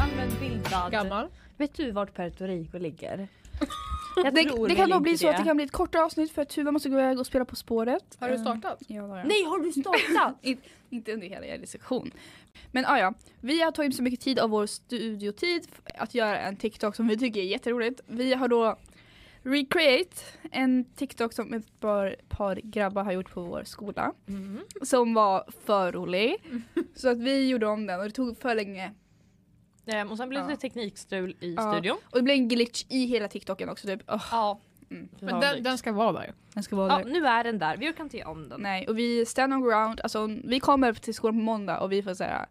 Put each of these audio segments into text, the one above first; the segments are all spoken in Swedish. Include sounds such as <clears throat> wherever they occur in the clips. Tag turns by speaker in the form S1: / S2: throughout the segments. S1: Använd bildbad.
S2: Gammal.
S1: Vet du vart Puerto Rico ligger?
S3: Det,
S1: Jag tror
S3: det kan
S1: väl
S3: nog bli
S1: inte
S3: så att det kan bli ett kortare avsnitt för att Tuva måste gå iväg och spela På spåret.
S2: Har Mm. du
S3: Eh,
S2: startat?
S3: Ja, det har jag.
S1: Nej har
S2: <laughs>
S1: du startat?
S3: In, inte under hela er sektion. Men ah, ja, vi har tagit så mycket tid av vår studiotid f- att göra en TikTok som vi tycker är jätteroligt. Vi har då recreate en TikTok som ett par, par grabbar har gjort på vår skola.
S2: Mm-hmm.
S3: Som var för rolig. Så att vi gjorde om den och det tog för länge.
S2: Ehm, och sen blev det
S3: Ja.
S2: teknikstrul i
S3: Ja.
S2: studion.
S3: Och det blev en glitch i hela TikToken också typ. Åh,
S2: Ja.
S3: Mm.
S4: Men den, den ska vara där.
S3: den ska vara
S2: ja,
S3: där.
S2: nu är den där. Vi kan inte göra om den.
S3: Nej och vi stand on ground, alltså vi kommer till skolan på måndag och vi får säga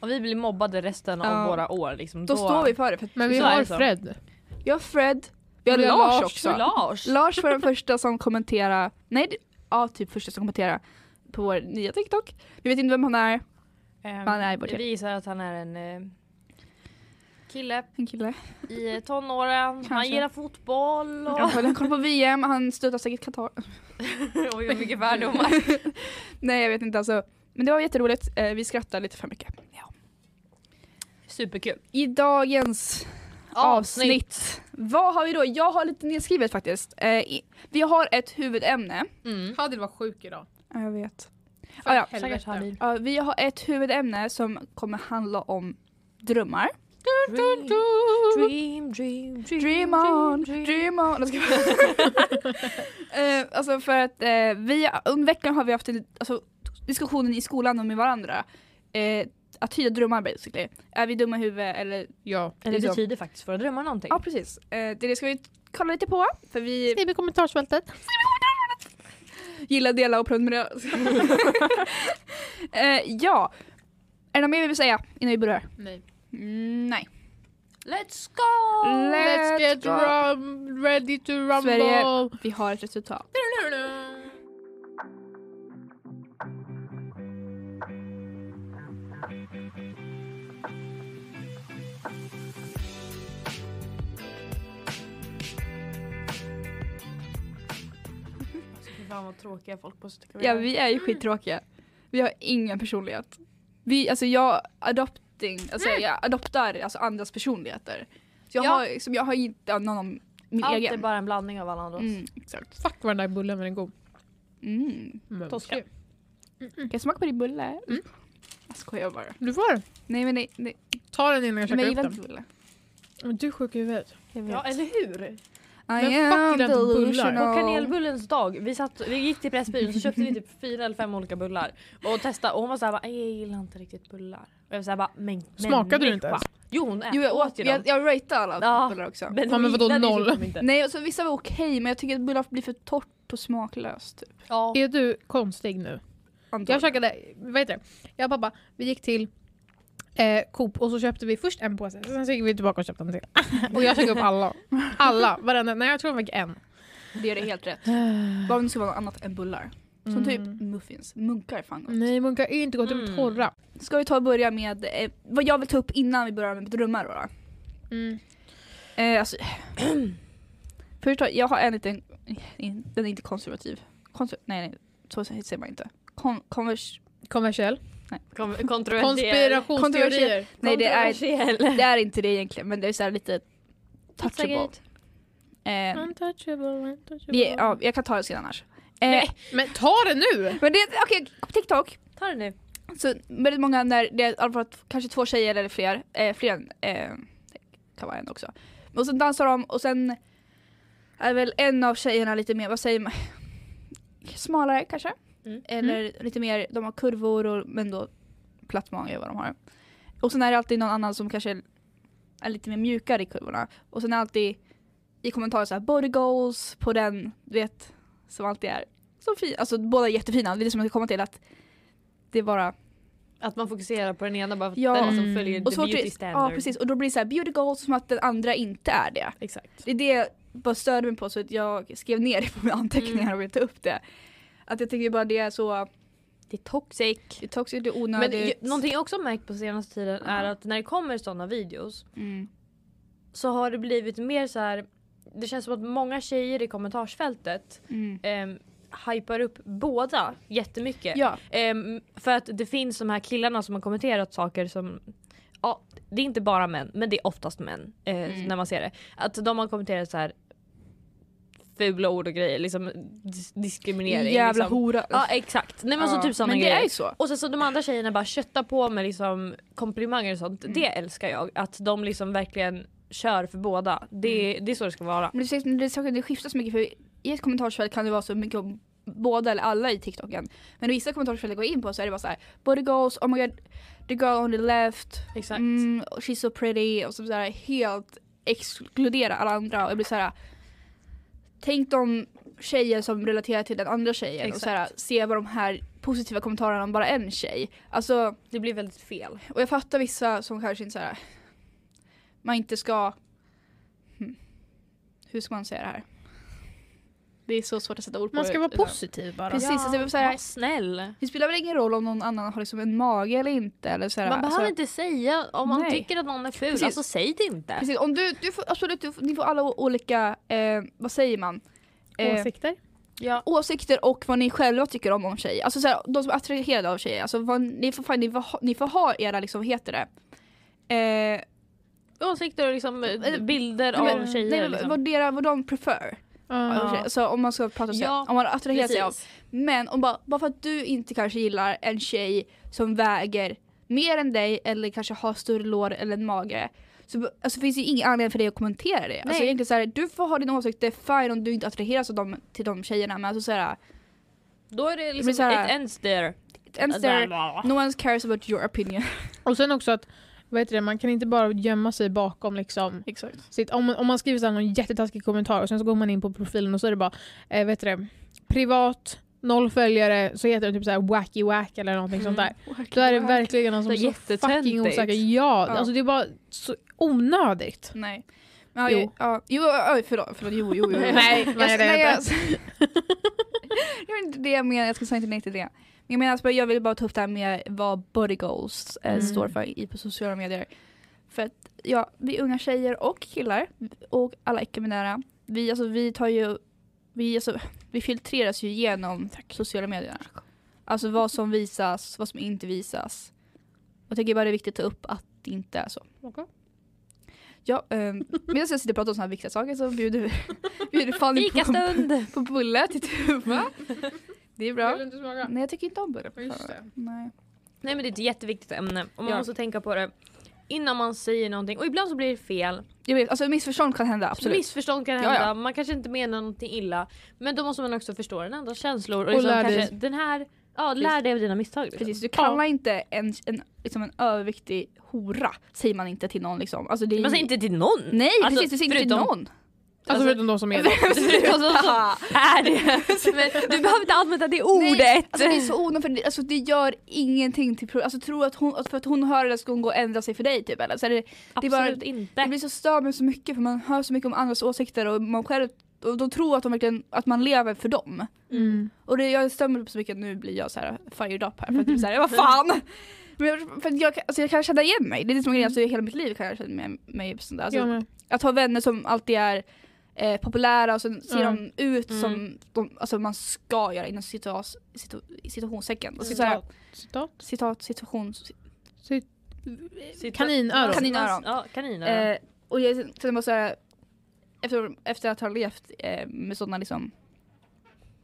S2: Och vi blir mobbade resten
S3: Ja.
S2: av våra år. Liksom.
S3: då, står vi för det. För att
S4: Men vi
S2: Så är
S4: har
S2: det så.
S4: Fred.
S3: Jag har Fred, vi har
S4: Vi har
S3: Lars
S4: Lars
S3: också.
S2: Lars.
S3: Lars var den första som kommenterade, nej det- ja typ första som kommenterade på vår nya TikTok. Vi vet inte vem han är,
S2: Ehm,
S3: Man är i vårt-
S2: vi gissar att han är en eh, kille
S3: en kille.
S2: i eh, tonåren. Han
S3: Kanske.
S2: gillar fotboll och,
S3: Ja. Han kollar på VM, han stöttar säkert Qatar.
S2: <laughs> och gör mycket <laughs> fördomar.
S3: Nej jag vet inte alltså. Men det var jätteroligt, eh, vi skrattade lite för mycket. Ja.
S2: Superkul.
S3: I dagens avsnitt. Vad har vi då? Jag har lite nedskrivet faktiskt. Eh, i- Vi har ett huvudämne.
S2: Mm.
S4: Hadil var sjuk idag.
S3: Ja, jag vet.
S4: För
S3: Ah, ja.
S2: Stackars
S4: helvete.
S2: Halil.
S3: Ja, vi har ett huvudämne som kommer handla om drömmar.
S2: Dream, dream, dream,
S3: Dream on, dream on. Jag ska bara- <laughs> eh, alltså för att eh, vi, under veckan har vi haft en, alltså, diskussionen i skolan och med varandra. Eh, att tyda drömmar basically. Är vi dumma i huvudet eller?
S4: Ja.
S2: Eller typ-
S3: Liksom.
S2: betyder faktiskt våra drömmar någonting?
S3: Ja precis. Eh, det ska vi kolla lite på. För vi
S4: Skriv i kommentarsfältet.
S3: gillar, delar och prenumererar. <laughs> eh, ja. Är det något mer vi vill säga innan vi börjar?
S4: Nej.
S3: Mm, nej.
S2: Let's go!
S4: Let's get rum, ready to rumble.
S3: Sverige, vi har ett resultat.
S2: Fy fan vad tråkiga folk på Studio
S3: Ja vi är ju skittråkiga. Vi har ingen personlighet. Vi, alltså jag adopting, alltså jag adoptar alltså andras personligheter. Så jag,
S2: Ja.
S3: har, som jag har inte någon av min
S2: Allt är
S3: egen.
S2: bara en blandning av alla andras.
S3: Mm, exakt.
S4: Fuck vad den där bullen var den god.
S3: Mm.
S4: Men-
S2: Toska.
S3: Kan jag smaka på din bulle? Jag skojar bara.
S4: Du får
S3: Nej men nej, nej.
S4: ta den innan jag
S3: Men
S4: käkar
S3: jag
S4: upp
S3: gillar
S4: den.
S3: inte bulle.
S4: Men Du är sjuk i huvudet.
S2: Ja eller hur?
S3: I
S4: fuck gillar
S3: am
S4: inte bullar.
S3: delusional.
S2: På kanelbullens dag, vi, satt, vi gick till Pressbyrån så köpte vi typ fyra eller fem olika bullar och testade och hon var såhär bara, "Nej, jag gillar inte riktigt bullar. Och jag var såhär bara, men
S4: Smakade du
S2: människa."
S4: inte ens?
S2: Jo hon ät,
S3: Jo jag åt,
S2: ju
S3: jag,
S2: dem.
S3: jag ratade alla
S2: Ja.
S3: bullar också.
S2: Men
S4: Ja,
S2: hon
S4: men vadå,
S2: gillade
S4: noll?
S2: liksom inte.
S3: Nej alltså, vissa var okej men jag tycker att bullar blir för torrt och smaklöst. Typ.
S2: Ja.
S4: Är du konstig nu? Jag
S3: Antagligen.
S4: käkade, vad heter det? Jag och pappa, vi gick till eh, Coop och så köpte vi först en påse, sen så gick vi tillbaka och köpte en till. <laughs> och jag käkade upp alla. Alla, varenda. Nej jag tror jag fick en.
S3: Det är det helt rätt. Bara om det ska vara något annat än bullar. Som
S4: Mm.
S3: typ muffins. Munkar är fan gott.
S4: Nej munkar är inte gott, de är
S2: Mm.
S4: torra.
S3: Ska vi ta och börja med eh, vad jag vill ta upp innan vi börjar med drömmar då? då?
S4: Mm.
S3: Eh, alltså, <clears throat> först, har- jag har en liten, den är inte konservativ. Konser, nej, nej, så säger man inte. Kon, konvers,
S4: Konversiell.
S2: Kom, kontroversiell.
S4: Konspirationsteorier.
S3: nej det är,
S2: Kontroversiell.
S3: det är inte det egentligen men det är så här lite touchable. Eh,
S4: Untouchable, untouchable.
S3: vi, ja, jag kan ta det sen annars. Eh,
S2: Nej.
S4: Men ta det nu!
S3: men det, okej, på TikTok
S2: Ta det nu.
S3: Så väldigt många, när det är i alla fall kanske två tjejer eller fler, eh, fler än, eh, det kan vara en också. Och sen dansar de och sen är väl en av tjejerna lite mer, vad säger man, <sighs> smalare kanske?
S2: Mm.
S3: Eller lite mer, de har kurvor och, men då platt mage är vad de har. Och sen är det alltid någon annan som kanske är lite mer mjukare i kurvorna. Och sen är det alltid i kommentarer så här body goals på den, du vet, som alltid är så fin. Alltså båda är jättefina, det är det som jag ska komma till att det är bara
S2: Att man fokuserar på den ena bara för att
S3: Ja.
S2: den som
S4: Mm.
S2: följer
S3: och
S2: the
S3: så
S2: beauty
S3: precis-
S2: standard.
S3: Ja precis och då blir det så här beauty goals som att den andra inte är det.
S2: Exakt.
S3: Det är det jag bara störde mig på så att jag skrev ner det på mina anteckningar
S2: Mm.
S3: och ville ta upp det. Att jag tycker bara det är så
S2: Det är toxic.
S3: det är toxic, det är
S2: Men
S3: onödigt.
S2: ju- någonting jag också märkt på senaste tiden är att när det kommer sådana videos
S3: mm.
S2: så har det blivit mer så här. Det känns som att många tjejer i kommentarsfältet
S3: Mm.
S2: ehm, hypar upp båda jättemycket.
S3: Ja,
S2: Ehm, för att det finns de här killarna som har kommenterat saker som Ja, det är inte bara män, men det är oftast män eh,
S3: Mm.
S2: när man ser det. Att de har kommenterat så här fula ord och grejer, liksom dis- diskriminering.
S3: jävla
S2: liksom.
S3: hora.
S2: Ja exakt, nej men
S3: Ja,
S2: så typ sådana
S3: men
S2: grejer.
S3: det är ju så.
S2: Och sen så de andra tjejerna bara köttar på med liksom komplimanger och
S3: Mm.
S2: sånt. Det älskar jag, att de liksom verkligen kör för båda. Det,
S3: Mm.
S2: det är så det ska vara.
S3: Men det, är- det, är saker- det skiftar så mycket för i ett kommentarsfält kan det vara så mycket om båda eller alla i TikToken. Men i vissa kommentarsfält jag går in på så är det bara så här: body goals, oh my god, the girl on the left,
S2: Exakt.
S3: mm, she's so pretty och så där helt exkludera alla andra och jag blir så här. Tänk de tjejer som relaterar till den andra tjejen och
S2: Exakt.
S3: så här, se vad de här positiva kommentarerna om bara en tjej. Alltså,
S2: Det blir väldigt fel.
S3: och jag fattar vissa som kanske inte så här. man inte ska, hmm, hur ska man säga det här? Det är så svårt att sätta ord på
S4: Man ska
S3: det.
S4: vara positiv bara.
S3: Precis, alltså, jag vill säga-
S2: var snäll.
S3: Det spelar väl ingen roll om någon annan har liksom en mage eller inte. Eller så här,
S2: Man
S3: alltså-
S2: behöver inte säga om man
S3: Nej.
S2: tycker att någon är ful,
S3: Precis.
S2: alltså säg det inte.
S3: Eh, Precis, om du, du får, absolut, du, får- ni får alla o- olika, eh, vad säger man? Eh,
S4: Åsikter.
S2: Ja.
S3: åsikter och vad ni själva tycker om om tjejer. Alltså så här, de som är attraherade av tjejer. Alltså, vad, ni, får, fan, ni, får, ha- ni får ha era, liksom, vad heter det? Eh,
S2: Åsikter och liksom eh, bilder
S3: nej,
S2: av
S3: men-
S2: tjejer.
S3: nej, men
S2: liksom.
S3: vad, dera, vad de prefer.
S4: Ja.
S3: av tjejer. Alltså, om man ska prata så här,
S2: Ja,
S3: om man attraherar sig av.
S2: Precis.
S3: Men om bara, bara för att du inte kanske gillar en tjej som väger mer än dig eller kanske har större lår eller en mage. Så b- alltså, finns det ju ingen anledning för dig att kommentera det. Alltså,
S2: Nej.
S3: egentligen så här, du får ha din åsikt, det är fine om du inte attraheras av dem, till de tjejerna. Men alltså, så här,
S2: Då är det
S3: blir
S2: liksom,
S3: så här-
S2: it ends there. Alltså,
S3: ends there, no one cares about your opinion.
S4: Och sen också att vad heter det, man kan inte bara gömma sig bakom liksom
S3: <laughs> Exakt.
S4: sitt, om, man- om man skriver så här någon jättetaskig kommentar och sen så går man in på profilen och så är det bara eh, vet du det, privat, noll följare, så heter det typ så här wacky wack eller någonting sånt där. Då är det verkligen någon som är
S2: Det är
S4: så fucking
S2: jättetöntigt.
S4: osäker. Ja,
S3: Ja.
S4: alltså det är bara så onödigt.
S3: Nej. Ja,
S4: Jo.
S3: jo. Ja, jo, oj, förlåt, förlåt, jo, jo, jo.
S4: Nej,
S3: jag,
S4: nej, det är
S3: jag, jag vet inte det jag menar, jag ska säga inte nej till det. Men jag menar, alltså, jag vill bara ta upp det här med vad body goals eh,
S2: Mm.
S3: står för i, på sociala medier. För att ja, vi unga tjejer och killar och alla icke-binära, vi, alltså, vi tar ju, vi, alltså, vi filtreras ju genom sociala medier. Alltså vad som visas, vad som inte visas. Och jag tycker bara det är viktigt att ta upp att det inte är så. Ja, um, medan jag sitter och pratar om sådana här viktiga saker så bjuder, vi- bjuder Fanny på,
S2: Fikastund!
S3: på bulle till Tuva. Det är bra.
S4: inte smaka?
S3: Nej jag tycker inte om bulle.
S4: Just det.
S3: Nej.
S2: Nej men det är ett jätteviktigt ämne och man
S3: Ja.
S2: måste tänka på det innan man säger någonting och ibland så blir det fel.
S3: Jag vet, alltså missförstånd kan hända absolut.
S2: Missförstånd kan
S3: Ja,
S2: hända,
S3: ja.
S2: man kanske inte menar någonting illa men då måste man också förstå den andras känslor och,
S4: Och
S2: liksom
S4: lär dig.
S2: kanske den här, ja lär dig av dina misstag. Liksom.
S3: Precis, du kallar inte en, en, liksom en överviktig hora säger man inte till någon liksom. Alltså, det är,
S2: Man säger inte till någon!
S3: Nej <laughs>
S2: Alltså,
S3: precis, du säger inte till
S2: förutom-
S3: någon.
S4: Alltså förutom de som är det.
S2: Alltså, så- så är det. Men du behöver inte använda det ordet!
S3: Nej, alltså det är så onödigt, för det- alltså det gör ingenting till pro- Alltså tror du att hon, att för att hon hör det ska hon gå och ändra sig för dig typ eller? Så är det, det är
S2: Absolut
S3: bara-
S2: inte.
S3: det blir så störande så mycket för man hör så mycket om andras åsikter och man själv, och de tror att, de verkligen, att man lever för dem.
S4: Mm.
S3: Och det, jag stämmer på så mycket att nu blir jag så här fired up här för att typ så
S2: <laughs>
S3: här, vad fan! Men jag, för att jag, kan- alltså jag kan känna igen mig, det är det som är grejen, alltså, i hela mitt liv kan jag känna igen mig på sånt där. Alltså,
S4: Jag med.
S3: Att ha vänner som alltid är eh, populära och sen ser
S4: Mm.
S3: de ut
S2: Mm.
S3: som de, alltså, man ska göra inom citat, situ, situationstecken. Alltså, så här,
S4: Citat. Citat.
S3: citat, situation.
S4: Cit- Kaninöron.
S3: Kaninöron.
S2: Ja, kaninöron.
S3: Eh, och jag känner bara så här, efter, efter att ha levt eh, med sådana liksom,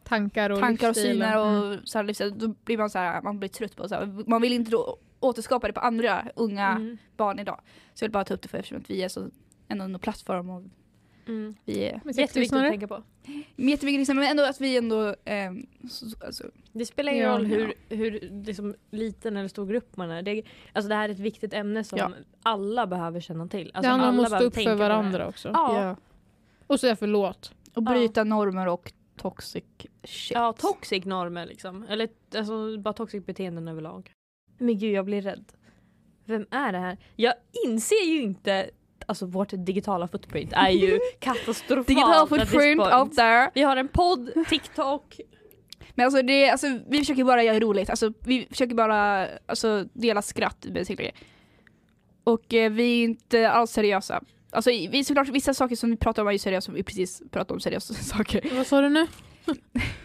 S4: Tankar och
S3: tankar och
S4: livsstilar.
S3: syner
S4: Mm.
S3: och så här, livsstil, då blir man så här, man blir trött på så här, Man vill inte då återskapa det på andra unga
S2: mm.
S3: barn idag. Så jag vill bara ta upp det för eftersom att vi är så ändå en plattform och
S2: Mm.
S3: vi är
S4: Med sexism
S2: Jätteviktigt att
S4: snarare.
S2: tänka på.
S3: men jätteviktigt liksom, men ändå att vi ändå ehm, så, så- alltså,
S2: Det spelar ingen
S4: Ja.
S2: roll hur, hur liksom, liten eller stor grupp man är. Det, alltså, det här är ett viktigt ämne som
S4: Ja.
S2: alla behöver känna till. Alltså,
S4: det handlar om
S2: alla
S4: att stå
S2: behöver
S4: upp
S2: tänka
S4: för
S2: på det här.
S4: varandra också.
S2: Ja.
S3: ja.
S4: Och säga förlåt.
S3: och bryta normer och toxic shit.
S2: Ja, toxic normer liksom. Eller alltså, bara toxic beteenden överlag. Men gud, jag blir rädd. Vem är det här? Jag inser ju inte... Alltså vårt digitala footprint är <laughs> ju katastrofalt.
S3: Digital
S2: at this
S3: footprint
S2: point.
S3: out there.
S2: Vi har en podd, TikTok.
S3: Men alltså, det, är- alltså vi försöker bara göra roligt, alltså, vi försöker bara alltså, dela skratt basically. Och eh, vi är inte alls seriösa. Alltså i- vi, såklart vissa saker som vi pratar om är ju seriösa, vi precis pratar om seriösa <laughs> saker.
S4: Vad sa du nu?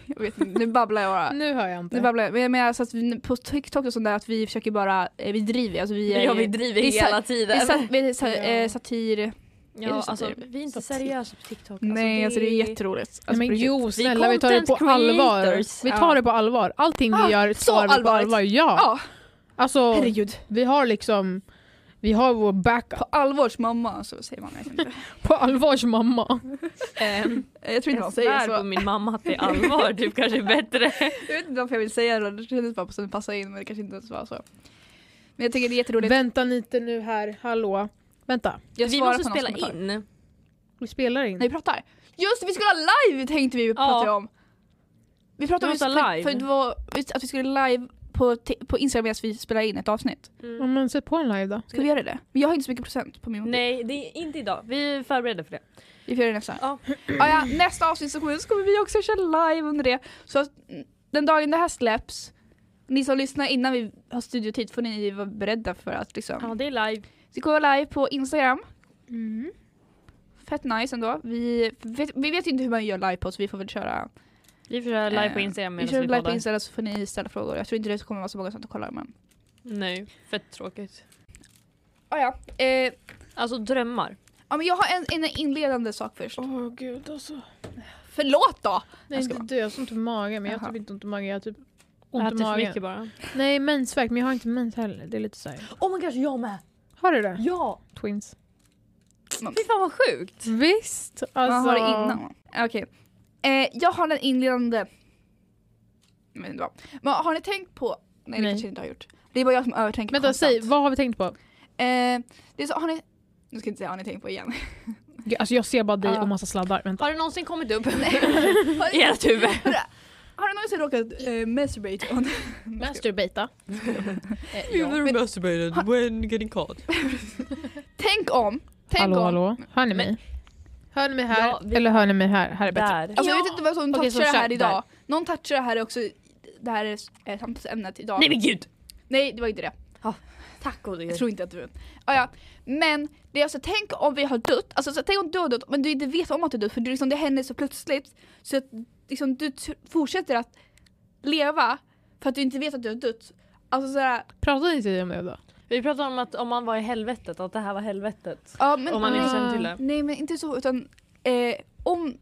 S3: Jag vet inte, nu babblar jag bara.
S4: Nu hör jag inte.
S3: Ah. Nu babblar jag. Men jag menar så att vi, på TikTok och sånt där att vi försöker bara, eh, vi driver alltså vi är
S1: Ja,
S3: ju-
S1: vi driver
S3: vi sa-
S1: hela tiden.
S3: vi, sa, vi är sa,
S4: Ja.
S3: eh, satir. Är det
S2: Ja,
S3: så
S2: alltså,
S3: att det-
S2: vi är inte
S3: så
S2: seriösa på TikTok.
S3: Nej alltså det är jätteroligt. Alltså,
S4: Nej,
S3: på
S4: men
S3: riktigt.
S4: jo
S1: Vi är
S4: snälla vi tar det på
S1: content creators.
S4: allvar. Vi tar
S3: Ja.
S4: det på allvar. Allting vi
S3: Ah,
S4: gör
S3: så
S4: tar vi på
S3: allvarligt.
S4: allvar. Ja.
S3: Ja,
S4: Alltså
S3: herregud.
S4: vi har liksom vi har vår backup.
S3: På allvars mamma så säger man. Jag, vet inte.
S4: På allvars mamma.
S2: <laughs> Ehm,
S3: Eh, jag tror inte
S2: <laughs>
S3: man
S2: jag
S3: säger
S2: svär på
S3: så.
S2: min mamma att det är allvar, typ <laughs> kanske är bättre.
S3: Jag vet inte varför jag vill säga det, det kändes bara som att det passade in men det kanske inte ens var så. Men jag tycker det är jätteroligt.
S4: Vänta lite nu här, hallå. Vänta,
S3: Jag
S2: Vi
S3: svarar
S2: måste
S3: på någons
S2: spela
S3: kommentar.
S2: in.
S4: vi spelar in.
S3: Nej, vi pratar. Just det, vi skulle ha live tänkte vi prata om. Vi pratade om
S2: Vi måste ha live.
S3: För, för det var, att vi skulle live på, te- på Instagram medan vi spelar in ett avsnitt.
S4: Ja,
S2: Mm.
S4: men sätt på en live då.
S3: Ska vi göra det? Men jag har inte så mycket procent på min mobil.
S2: Nej, det är inte idag. Vi är förberedda för det.
S3: Vi får göra det nästa.
S2: Ja.
S3: Ah, ja, nästa avsnitt så kommer, så kommer vi också köra live under det. Så att, mm, den dagen det här släpps, ni som lyssnar innan vi har studiotid får ni vara beredda för att liksom.
S2: Ja, det är live.
S3: Vi går live på Instagram. Fett nice ändå. Vi vet, vi vet inte hur man gör live på så vi får väl köra
S2: Vi får köra live på
S3: Eh,
S2: Instagram
S3: Vi
S2: medan
S3: kör
S2: vi,
S3: live på
S2: poddar.
S3: Instagram så får ni ställa frågor. Jag tror inte det kommer vara så många som kollar men...
S2: Nej, fett tråkigt.
S3: Ah, ja. Eh,
S2: Alltså drömmar.
S3: ja, men jag har en, en inledande sak först.
S4: Åh oh, gud alltså.
S3: Förlåt då!
S4: Nej
S3: Jag ska
S4: inte du, jag har så ont i magen men jag har
S3: Jaha.
S4: typ inte ont i magen. Jag har typ
S2: Jag
S4: ont i
S2: äter för
S4: magen.
S2: mycket bara.
S4: Nej mensvärk men jag har inte mens heller. Det är lite såhär.
S1: Oh my gosh, jag med!
S4: Har du det?
S1: Ja!
S4: Twins.
S2: Fy fan vad sjukt!
S4: Visst.
S3: Vad
S4: Alltså.
S3: har du innan? Okej. Eh, jag har en inledande... Jag vet inte vad. Men har ni tänkt på... Nej, det
S4: Nej.
S3: kanske ni inte har gjort. Det är bara jag som övertänker
S4: Vänta
S3: konstant.
S4: säg, vad har vi tänkt på?
S3: Eh, det är så, har ni... Nu ska jag inte säga har ni tänkt på igen.
S4: Gud, Alltså jag ser bara dig
S2: Ja.
S4: och massa sladdar. Vänta.
S2: Har det någonsin kommit upp
S3: <laughs> har,
S2: <laughs> i
S3: ni,
S2: ert huvud?
S3: har ni någonsin råkat eh, masturbate on?
S4: Masturbata.
S3: ja. Men-
S2: masturbated
S3: Ha-
S2: when getting caught.
S3: Tänk om! Tänk
S4: Hallå
S3: om!
S4: hallå, hör ni
S2: Men-
S4: mig? Hör ni mig här
S2: Ja, vi-
S4: eller hör ni mig här? Här är
S2: Där.
S4: bättre.
S3: Alltså jag vet inte vad som
S4: Okej, så
S3: touchar det här
S4: kör,
S3: idag. Någon touchar det här också, det här är eh, samtalsämnet idag.
S2: Nej men gud!
S3: Nej, det var inte det.
S2: Tack gode
S3: Jag
S2: gud.
S3: tror inte att du... Ah, ja. Men det är alltså, tänk om vi har dött, alltså så, tänk om du har dött men du inte vet om att du är dött för det, liksom, det händer så plötsligt så att liksom, du t- fortsätter att leva för att du inte vet att du har dött. Alltså sådär,
S4: Pratade inte vi om det då?
S2: Vi pratade om att om man var i helvetet, att det här var helvetet.
S3: ja men...
S2: Om man inte
S4: Ah.
S2: känner till det.
S3: Nej men inte så utan eh, om...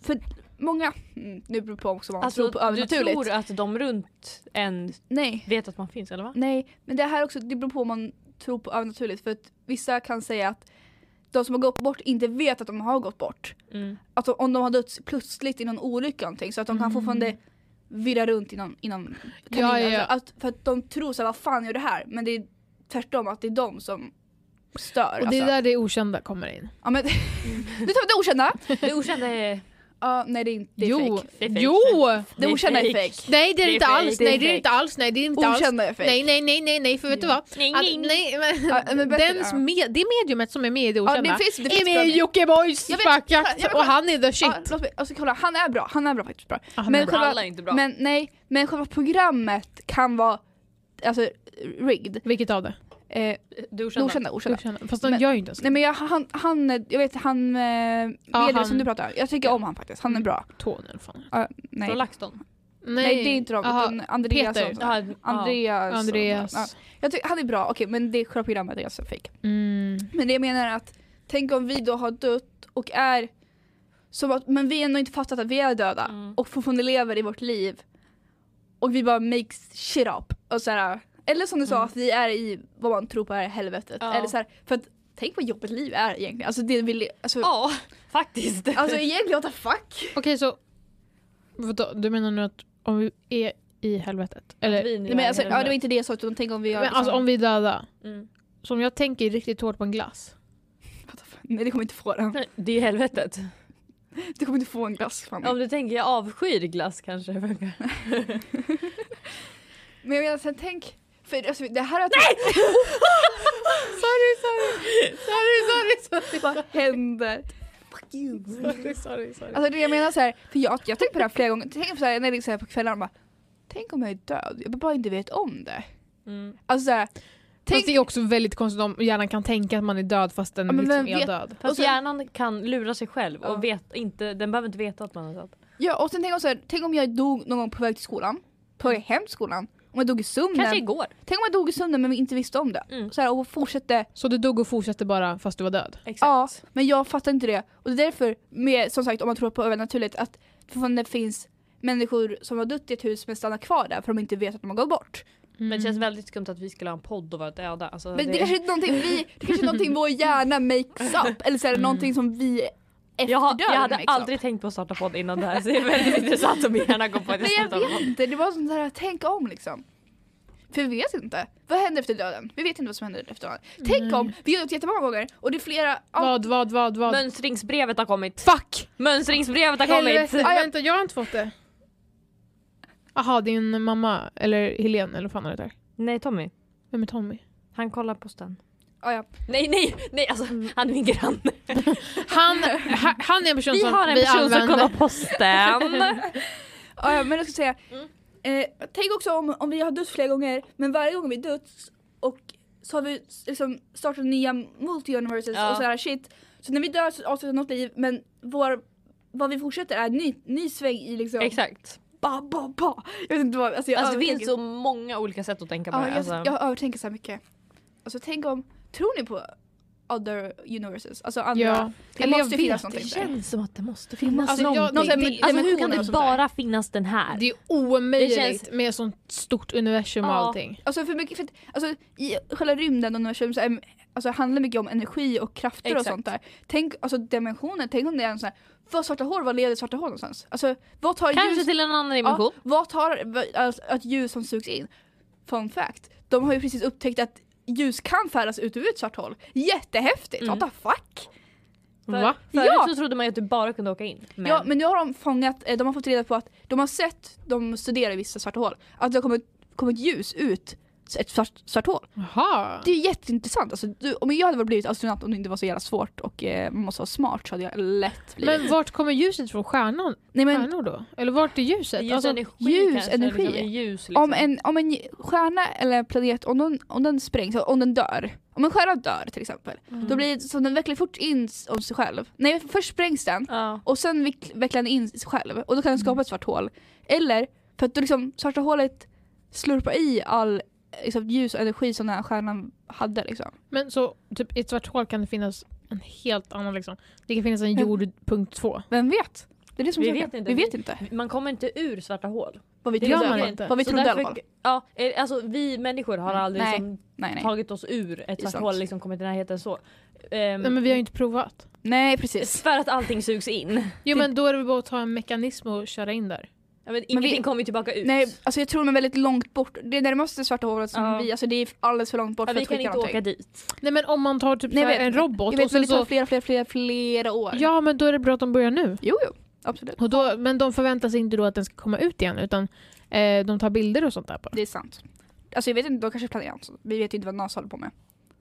S3: För många, mm, nu beror det på också vad man tror
S2: Alltså du
S3: på övernaturligt.
S2: tror att de runt en
S3: Nej.
S2: vet att man finns eller va?
S3: Nej, men det här också, det beror på om man tror på övernaturligt. För att vissa kan säga att de som har gått bort inte vet att de har gått bort.
S2: Mm.
S3: Alltså om de har dött plötsligt i någon olycka eller någonting så att de kan fortfarande virra runt inom, inom kaminen.
S4: Mm. Ja, ja, ja.
S3: Alltså, att, för att de tror såhär, vad fan gör det här? Men det är tvärtom att det är de som stör.
S4: Och det är
S3: alltså.
S4: där Mm. det okända kommer in.
S3: ja, men, <laughs> nu tar vi det okända!
S2: Det okända är...
S3: Ja, nej det är inte, det är
S4: jo.
S3: fake.
S2: Det är fake.
S4: Jo!
S3: Det
S2: är
S3: okända är
S2: fake.
S3: fake.
S4: Nej det är det inte
S2: fake,
S4: alls,
S2: det är
S4: nej det är
S2: fake.
S4: inte alls, nej det är inte alls.
S3: Okända är fake.
S4: Nej nej nej nej nej för vet du vad?
S2: Nej,
S4: Att,
S2: nej, nej.
S4: nej, men,
S3: Ja, men bättre,
S4: dens
S3: ja.
S4: med, det mediumet som är med i det
S3: Ja,
S4: okända
S3: det finns, det
S4: är
S3: finns
S4: med i Jockibois
S3: Jag vet, kolla,
S4: fuckjakt
S3: jag vet,
S4: och
S3: kolla.
S4: han är the shit.
S3: Ja, låt mig, alltså, kolla, han är bra, han är bra faktiskt. Bra.
S4: Ah, han
S3: men
S4: är bra.
S3: själva-
S2: Alla är inte bra.
S3: Men nej, men själva programmet kan vara alltså, rigged.
S4: Vilket av det?
S3: Eh,
S2: Du
S3: det
S2: okända.
S3: okända,
S4: Det
S3: okända.
S4: okända. Fast de
S3: Men-
S4: gör ju inte ens
S3: Nej men jag, han, han, jag vet han, eh, medier
S4: han- Mm.
S3: som du pratar om, jag tycker om han faktiskt, han är bra.
S4: tån eller fan.
S3: Nej,
S2: Från LaxTon.
S3: nej det är inte de,
S4: Aha,
S3: utan Andreas
S4: Peter.
S3: Peter.
S2: Ja, ja.
S3: Andreas.
S4: Andreas.
S3: Alltså, Ja, jag tycker, han är bra, okej men det är själva programmet är ganska fake.
S4: Mm.
S3: Men det jag menar är att, tänk om vi då har dött och är, som att, men vi ändå inte fattat att vi är döda
S2: Mm.
S3: och fortfarande lever i vårt liv. Och vi bara makes shit up. Och så här, eller som du sa,
S2: Mm.
S3: att vi är i vad man tror på är helvetet.
S2: Ja.
S3: Eller så här, för att, tänk vad jobbigt liv är egentligen. Alltså, det vill, alltså,
S2: Ja, faktiskt.
S3: alltså egentligen, what the
S4: <laughs>
S3: fuck?
S4: Okej så, vadå, du menar nu att om vi är i helvetet? Eller,
S2: Vi nu
S3: Nej, men
S2: är
S3: alltså, ja, det var
S2: helvetet.
S3: inte det jag sa, utan tänk om vi liksom- har...
S4: men alltså om vi är döda.
S2: Mm.
S4: Så om jag tänker riktigt hårt på en glass.
S3: Nej det kommer inte få den.
S2: Nej, Det är helvetet.
S3: Du kommer inte få en glass. Fan.
S2: Om du tänker jag avskyr glass kanske <laughs> det funkar.
S3: Men jag menar, sen tänk, för alltså, det här att... Nej!
S4: Sorry sorry! Sorry sorry sorry!
S3: Vad händer?
S2: <laughs>
S3: Fuck you.
S4: sorry, sorry,
S2: typ.
S4: sorry.
S3: Alltså det jag menar så här, för jag, jag tänker på det här flera gånger, tänk så här, när det är så här på kvällarna bara, tänk om jag är död, jag bara inte vet om det.
S2: Mm.
S3: Alltså såhär,
S4: Fast det är också väldigt konstigt om hjärnan kan tänka att man är död fast den
S3: Ja, men
S4: liksom
S3: vem
S4: är
S3: vet-
S4: död.
S2: Fast
S3: Och sen-
S2: hjärnan kan lura sig själv
S3: Ja.
S2: och vet inte, den behöver inte veta att man har satt.
S3: Ja och sen tänk om, så här, tänk om jag dog någon gång på väg till skolan, på väg hem till skolan. Om jag dog i sömnen.
S2: Kanske igår.
S3: Tänk om jag dog i sömnen men vi inte visste om det.
S2: Mm.
S3: Så här, och fortsatte,
S4: Så du dog och fortsatte bara fast du var död?
S3: ja men jag fattar inte det. Och det är därför, med, som sagt om man tror på övernaturligt, att fortfarande finns människor som har dött i ett hus men stannar kvar där för de inte vet att de har gått bort.
S2: Men det känns väldigt skumt att vi skulle ha en podd och vara döda. Alltså,
S3: Mm. Men det, kanske är någonting vi, det kanske är någonting vår hjärna makes up eller så är det någonting som vi efter
S2: Mm.
S3: liksom.
S2: jag, har, jag
S3: döden
S2: hade
S3: makes up.
S2: aldrig tänkt på att starta podd innan det här så det är
S3: <laughs>
S2: väldigt intressant om min hjärna går på att
S3: Nej
S2: jag
S3: jag
S2: startar
S3: vet
S2: podd.
S3: inte, det var sånt där att tänka om liksom. För vi vet inte. Vad händer efter döden? Vi vet inte vad som händer efter döden. Tänk om, vi har gjort jättemånga gånger och det är flera... ja,
S4: Vad, vad, vad, vad?
S2: Mönstringsbrevet har kommit.
S4: Fuck!
S2: Mönstringsbrevet har kommit.
S4: Helvete, vänta jag har inte fått det. Jaha, din mamma, eller Helene eller vad fan är det där?
S2: Nej Tommy,
S4: Vem är Tommy?
S3: <laughs>
S2: han kollar posten.
S3: ja, ja.
S2: Nej nej nej alltså
S3: Mm.
S2: han är min granne.
S4: Han, ha- han är en person
S3: Alltså,
S2: Vi
S4: som
S2: har en person som
S4: använder.
S2: kollar posten.
S3: <laughs> Ja, ja, men jag ska säga.
S2: Mm.
S3: Eh, tänk också om, om vi har dött flera gånger men varje gång vi dött och så har vi liksom startat nya multi-universes
S2: Ja.
S3: och sådär shit. Så när vi dör så avslutar något liv men vår, vad vi fortsätter är ny, ny sväng i liksom...
S2: Exakt.
S3: Ba, ba, ba. Jag vet inte vad... Alltså, jag
S2: Alltså, det finns
S3: övertänker.
S2: så många olika sätt att tänka på
S3: Ja,
S2: det.
S3: jag,
S2: Alltså.
S3: jag övertänker så här mycket. Alltså tänk om, tror ni på other universes? Alltså andra,
S4: Ja.
S3: det
S4: Eller jag
S3: måste finnas
S4: vet,
S3: någonting
S2: det
S3: där.
S2: känns som att det måste finnas
S4: Alltså, jag-
S2: någonting.
S3: någon sån här
S2: Det- alltså, hur
S3: dimensioner
S2: kan
S3: och
S2: det
S3: sånt där.
S2: bara finnas den här?
S4: Det är
S2: Det
S4: omöjligt
S2: känns-
S4: med ett sånt stort universum och
S2: Ja.
S4: allting.
S3: Alltså för mycket, för att, alltså i själva rymden och universum så är, alltså, handlar mycket om energi och krafter och
S2: Exakt.
S3: sånt där. Tänk, alltså dimensioner, tänk om det är en sån här, vad svarta hål, vad leder svarta hål någonstans? Alltså vad tar
S2: Kanske
S3: ljus,
S2: till en annan dimension.
S3: vad tar vad- alltså, att ljus som sugs in? Fun fact, de har ju precis upptäckt att ljus kan färdas ut ur ett svart hål. Jättehäftigt,
S2: Mm.
S3: what the fuck?
S2: För-
S4: Va?
S2: Förut
S3: Ja.
S2: så trodde man ju att du bara kunde åka in. Men,
S3: Ja men nu har de fångat, eh, de har fått reda på att de har sett, de studerar vissa svarta hål, att det har kommit, kommit ljus ut ett svart, svart hål.
S4: Jaha.
S3: Det är jätteintressant. Alltså, du, om jag hade blivit astronaut om det inte var så jävla svårt och eh, man måste vara smart så hade jag lätt blivit.
S4: Men vart kommer ljuset från? Stjärnan,
S3: Nej, men
S4: stjärnor då? Eller vart är ljuset?
S2: ljus,
S4: Alltså,
S2: energi
S3: ljus,
S2: kanske,
S3: energi.
S2: Liksom, ljus, liksom.
S3: om en, om en stjärna eller planet, om den, om den sprängs, om den dör, om en stjärna dör till exempel,
S2: Mm.
S3: då blir det så den vecklar fort in s- om sig själv. Nej först sprängs den
S2: Ja.
S3: och sen veck- vecklar den in sig själv och då kan den skapa ett svart hål. Eller för att då liksom svarta hålet slurpar i all liksom, ljus och energi som den här stjärnan hade liksom.
S4: Men så typ, i ett svart hål kan det finnas en helt annan liksom. Det kan finnas en
S3: Mm.
S4: jord punkt två.
S3: Vem vet? Det är det som
S2: Vi
S3: är saken.
S2: vet inte.
S3: Vi vet inte.
S2: Man kommer inte ur svarta hål.
S3: Vad vi
S2: Det
S4: gör
S3: trodde,
S4: man
S3: i alla fall.
S4: inte.
S3: Vad vi
S2: Så
S3: trodde i alla
S2: därför-
S3: fall.
S2: Ja, eh, alltså, vi människor har
S3: Mm,
S2: aldrig
S3: nej.
S2: liksom
S3: Nej, nej.
S2: tagit oss ur ett
S3: är
S2: svart
S3: sant.
S2: hål liksom kommit i närheten så. Ehm,
S4: Nej men vi har ju inte provat.
S3: Nej precis.
S2: För att allting sugs in.
S4: Jo men då är det väl bara att ta en mekanism och köra in där.
S2: Ja, men ingenting
S3: vi-
S2: kommer ju tillbaka ut.
S3: Nej, alltså jag tror de är väldigt långt bort. Det är närmaste svarta hålet som
S2: Ja.
S3: vi, alltså det är alldeles för långt bort
S2: ja,
S3: för
S2: vi
S3: att
S2: kan
S3: skicka
S2: inte
S3: någonting.
S2: åka dit.
S4: Nej men om man tar typ
S3: Nej,
S4: så här
S3: jag vet-
S4: en robot
S3: Jag vet
S4: och
S3: men
S4: sen
S3: det tar
S4: så...
S3: flera, flera, flera, flera år.
S4: Ja men då är det bra att de börjar nu.
S3: Jo, jo. Absolut.
S4: Och då, men de förväntar sig inte då att den ska komma ut igen utan eh, de tar bilder och sånt där bara.
S3: Det är sant. Alltså jag vet inte, de kanske planerar något sånt. Vi vet ju inte vad NASA håller på med.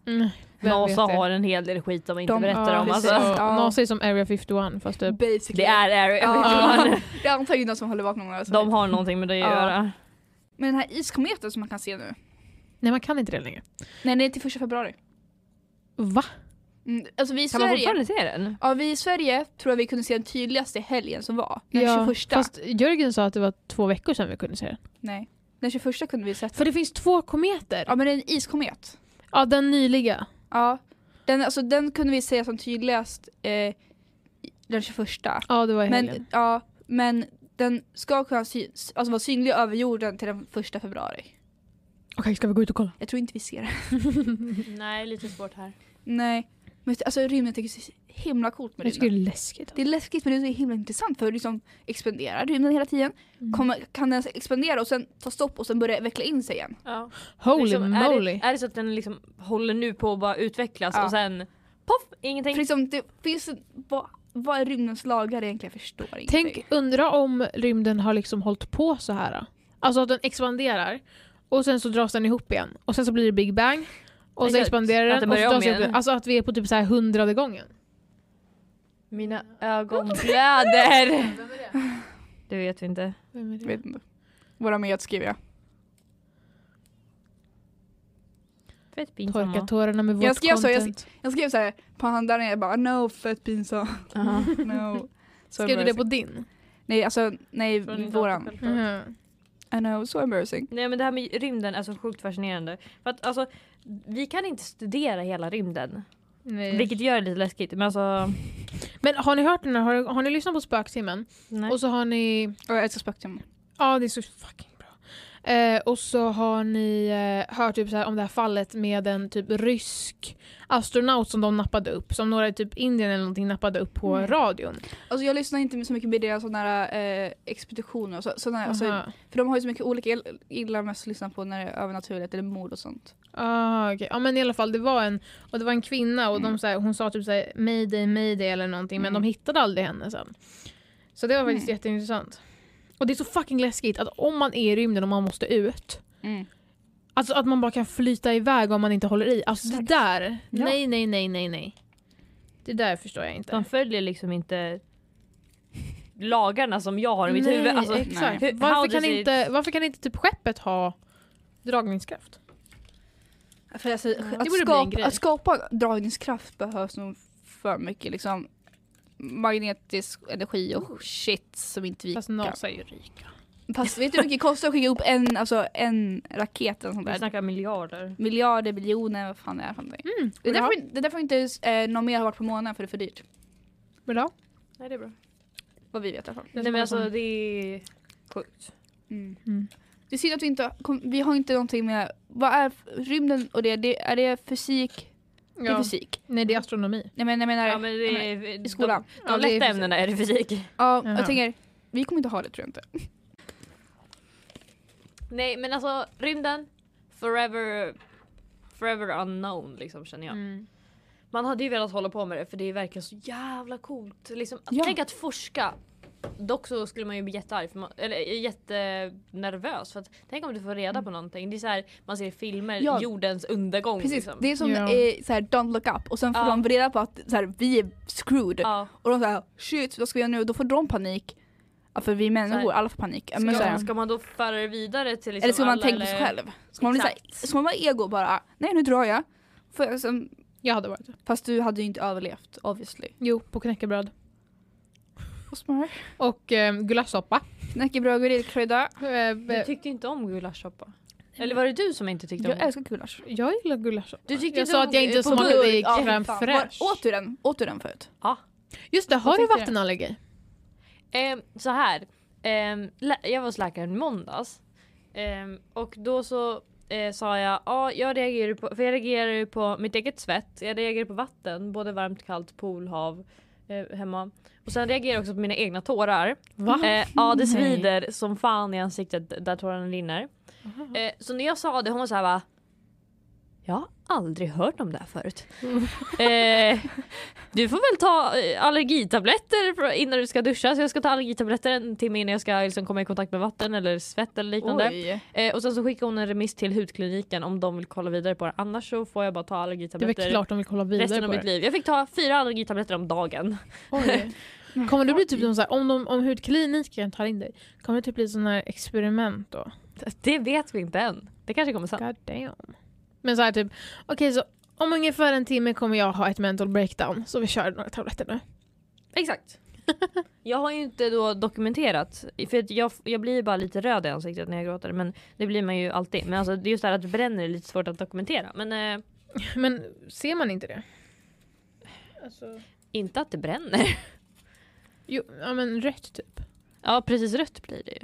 S4: Mm, vem vet
S2: NASA
S4: det?
S2: har en hel del skit de inte
S3: De-
S2: berättar
S4: ja,
S2: om.
S4: precis.
S2: Alltså.
S4: Ja,
S3: Ja.
S4: NASA är som Area 51 fast typ.
S3: Basically.
S2: Det är Area
S3: Ja.
S2: 51.
S3: Det är antagligen de som håller bakom några. Alltså.
S2: De har någonting med det att
S3: Ja.
S2: göra.
S3: Men den här iskometen som man kan se nu.
S4: Nej man kan inte det längre.
S3: Nej, den är till första februari.
S4: Va?
S3: Mm. Alltså vi i
S2: Kan man
S3: Sverige.
S2: fortfarande se den?
S3: Ja, vi i Sverige tror jag vi kunde se den tydligaste helgen som var. Den 21.
S4: Fast Jörgen sa att det var två veckor sedan vi kunde se den.
S3: Nej. Den 21 kunde vi se
S4: För det finns två kometer.
S3: Ja, men det är en iskomet.
S4: Ja den nyliga.
S3: Ja, den, alltså, den kunde vi säga som tydligast eh, i- den 21.
S4: Ja det var i helgen.
S3: Men, ja, men den ska kunna sy- alltså, vara synlig över jorden till den 1 februari.
S4: Okej ska vi gå ut och kolla?
S3: Jag tror inte vi ser det.
S2: Nej, lite svårt här.
S3: Nej, men alltså, rymden tycker jag är så himla coolt med
S4: Jag tycker
S3: rymden.
S4: det är läskigt.
S3: Det är läskigt men det är så himla intressant för hur liksom expanderar rymden hela tiden.
S4: Mm.
S3: Kommer, kan den expandera och sen ta stopp och sen börja veckla in sig igen?
S2: Ja.
S4: Holy
S2: liksom, är,
S4: moly.
S2: det, är det så att den liksom håller nu på att bara utvecklas
S3: Ja.
S2: och sen poff, ingenting.
S3: För liksom, det finns en, vad, vad är rymdens lagar egentligen? Jag förstår ingenting.
S4: Tänk, undra om rymden har liksom hållit på så här. Alltså att den expanderar och sen så dras den ihop igen. Och sen så blir det Big Bang. Och så
S2: Exakt.
S4: expanderar
S2: Att
S4: den.
S2: det
S4: och
S2: börjar
S4: så
S2: om
S4: dras den ihop
S2: igen.
S4: igen. Alltså att vi är på typ så här hundrade gången.
S2: Mina ögon blöder. Det vet vi inte.
S4: Vem är
S3: Jag
S4: det?
S3: vet inte. Våra med skriver jag.
S2: Fett pinsamma.
S4: Torka tårarna med vårt
S3: Jag skrev så, jag
S4: content.
S3: Jag skrev såhär på handlaren, jag bara no fett pinsamt.
S2: Ja.
S3: <laughs> No. So
S4: Skrev du det
S3: embarrassing.
S4: på din?
S3: Nej alltså nej
S2: Från din dator,
S3: våran.
S2: självklart.
S4: Mhm.
S3: I know, so embarrassing.
S2: Nej men det här med rymden är så sjukt fascinerande. För att alltså, vi kan inte studera hela rymden.
S4: Nej.
S2: Vilket gör det lite läskigt. Men alltså,
S4: Men har ni hört den här? Har, har ni lyssnat på Spöktimmen?
S2: nej.
S4: Och så har ni...
S3: Och jag älskar Spectrum.
S4: Ja, det är så fucking bra. Eh, och så har ni eh, hört typ så här om det här fallet med en typ rysk astronaut som de nappade upp. Som några i typ Indien eller någonting nappade upp på
S3: Mm.
S4: radion.
S3: Alltså jag lyssnar inte så mycket på deras sådana här eh, expeditioner och så, sådana, alltså,
S4: Aha.
S3: För de har ju så mycket olika, jag gillar mest att lyssna på när det är övernaturligt eller mord och sånt.
S4: Ah, okej. Ja men i alla fall, det var en, och det var en kvinna och
S3: Mm.
S4: de, så här, hon sa typ så här, mayday mayday eller någonting
S3: Mm.
S4: men de hittade aldrig henne sen. Så det var faktiskt
S3: Mm.
S4: jätteintressant. Och det är så fucking läskigt att om man är i rymden och man måste ut, alltså att man bara kan flyta iväg om man inte håller i. Alltså det där,
S3: Ja.
S4: nej nej nej nej nej. Det där förstår jag inte.
S2: De följer liksom inte lagarna som jag har i mitt
S4: nej,
S2: huvud. Alltså,
S4: exakt.
S2: nej. How
S4: Varför,
S2: does
S4: kan
S2: it-
S4: inte, varför kan inte typ skeppet ha dragningskraft?
S3: För alltså,
S4: Det
S3: att,
S4: borde bli en
S3: skapa,
S4: grej.
S3: att skapa dragningskraft behövs nog för mycket liksom magnetisk energi och shit som inte vi
S4: Fast
S3: kan.
S4: NASA är ju rika.
S3: Fast vet du hur mycket det kostar att skicka upp en, alltså, en raket eller sånt
S2: vi
S3: där?
S2: snackar miljarder.
S3: Miljarder, biljoner, vad fan det är för någonting.
S4: Mm,
S3: Det
S4: vill,
S3: är
S4: du ha?
S3: därför, det är därför inte eh, någon mer har varit på månen för det är för dyrt.
S4: vill du ha?
S2: Nej det är bra.
S3: Vad vi vet i alla fall.
S2: Nej men alltså det är sjukt.
S3: Mm.
S4: Mm.
S3: Det är synd att vi inte kom, vi har inte någonting med, vad är f- rymden och det, det är det fysik? Det är
S4: Ja.
S3: fysik.
S4: Nej det är astronomi.
S3: Nej men jag menar,
S2: Ja,
S3: ja,
S2: men det är,
S3: i skolan.
S2: De, de
S4: Ja, det är
S2: lätta
S4: fysik.
S2: ämnena är det fysik.
S4: Jaha.
S3: jag tänker, vi kommer inte ha det tror jag inte.
S2: Mm, Nej men alltså rymden, forever, forever unknown liksom känner jag.
S4: Mm.
S2: Man hade ju velat hålla på med det för det är verkligen så jävla coolt. Liksom,
S3: Ja.
S2: Tänk att forska. Dock så skulle man ju bli jättearg, för man, eller eh, jättenervös för att tänk om du får reda på någonting. Det är så här, man ser i filmer,
S3: Mm. Ja.
S2: jordens undergång.
S3: Precis,
S2: liksom.
S3: det är som
S4: Ja.
S3: eh, såhär, don't look up och sen får
S2: Ja.
S3: de reda på att såhär, vi är screwed
S2: ja,
S3: och de säger shit vad ska vi göra nu? Och då får de panik. Ja, för vi är människor,
S2: Såhär.
S3: alla får panik. Ja,
S2: ska,
S3: Men, såhär,
S2: ska man då föra det vidare till liksom
S3: eller ska man
S2: alla,
S3: tänka på sig
S2: eller-
S3: själv? Ska man, bli såhär,
S2: Exakt.
S3: ska man vara ego och bara, nej nu drar jag. För, sen,
S4: Jag hade varit det.
S3: fast du hade ju inte överlevt obviously.
S4: Jo, på knäckebröd.
S3: Och smör.
S4: Och eh, gulaschsoppa.
S3: Knäckebröd, grillkrydda.
S4: Eh,
S2: Du
S4: be-
S2: tyckte inte om gulaschsoppa. Eller var det du som inte tyckte om
S3: Jag
S2: det?
S3: älskar gulasch.
S4: jag gillar gulaschsoppa.
S2: Du tyckte
S4: Jag
S2: inte
S4: sa
S2: om-
S4: att jag inte
S2: eh, på
S4: smakade
S2: gurk.
S4: ja, crème
S3: Fan,
S4: fraîche.
S3: var- Åt du den? Åt du den förut?
S4: Just det, har
S3: Vad
S4: du
S3: tyckte du?
S4: vattenallergi?
S2: Ehm, så här. Ehm, lä- jag var hos läkaren i måndags. Ehm, och då så eh, sa jag, ja jag reagerar på, för jag reagerar ju på mitt eget svett, jag reagerar på vatten, både varmt, kallt, pool, hav, eh, hemma. Och sen reagerar jag också på mina egna tårar.
S4: Va?
S2: Eh, ja det
S4: Nej.
S2: svider som fan i ansiktet där tårarna rinner.
S4: Mm.
S2: Eh, så när jag sa det, hon var såhär va, jag har aldrig hört om det här förut.
S4: Mm. <laughs>
S2: eh, du får väl ta eh, allergitabletter för- innan du ska duscha. Så jag ska ta allergitabletter en timme innan jag ska liksom komma i kontakt med vatten eller svett eller liknande.
S3: Oj.
S2: Eh, och sen så skickar hon en remiss till hudkliniken om de vill kolla vidare på det. Annars så får jag bara ta
S4: Det är väl
S2: allergitabletter
S4: klart de vill kolla vidare
S2: resten av
S4: på
S2: mitt
S4: det.
S2: liv. Jag fick ta fyra allergitabletter om dagen. <laughs>
S4: Oj. Kommer det bli typ som såhär, om, de, om hudkliniken tar in dig, kommer det typ bli sådana här experiment då?
S2: Det vet vi inte än. Det kanske kommer sen.
S4: God damn. Men såhär typ, okej så om ungefär en timme kommer jag ha ett mental breakdown så vi kör några tabletter nu.
S2: <laughs> Exakt. jag har ju inte då dokumenterat, för att jag, jag blir ju bara lite röd i ansiktet när jag gråter men det blir man ju alltid. Men alltså, det är just det här att det bränner är lite svårt att dokumentera. Men eh,
S4: Men ser man inte det? Alltså...
S2: inte att det bränner.
S4: Jo, ja men rött typ.
S2: <laughs> ja precis rött blir det ju.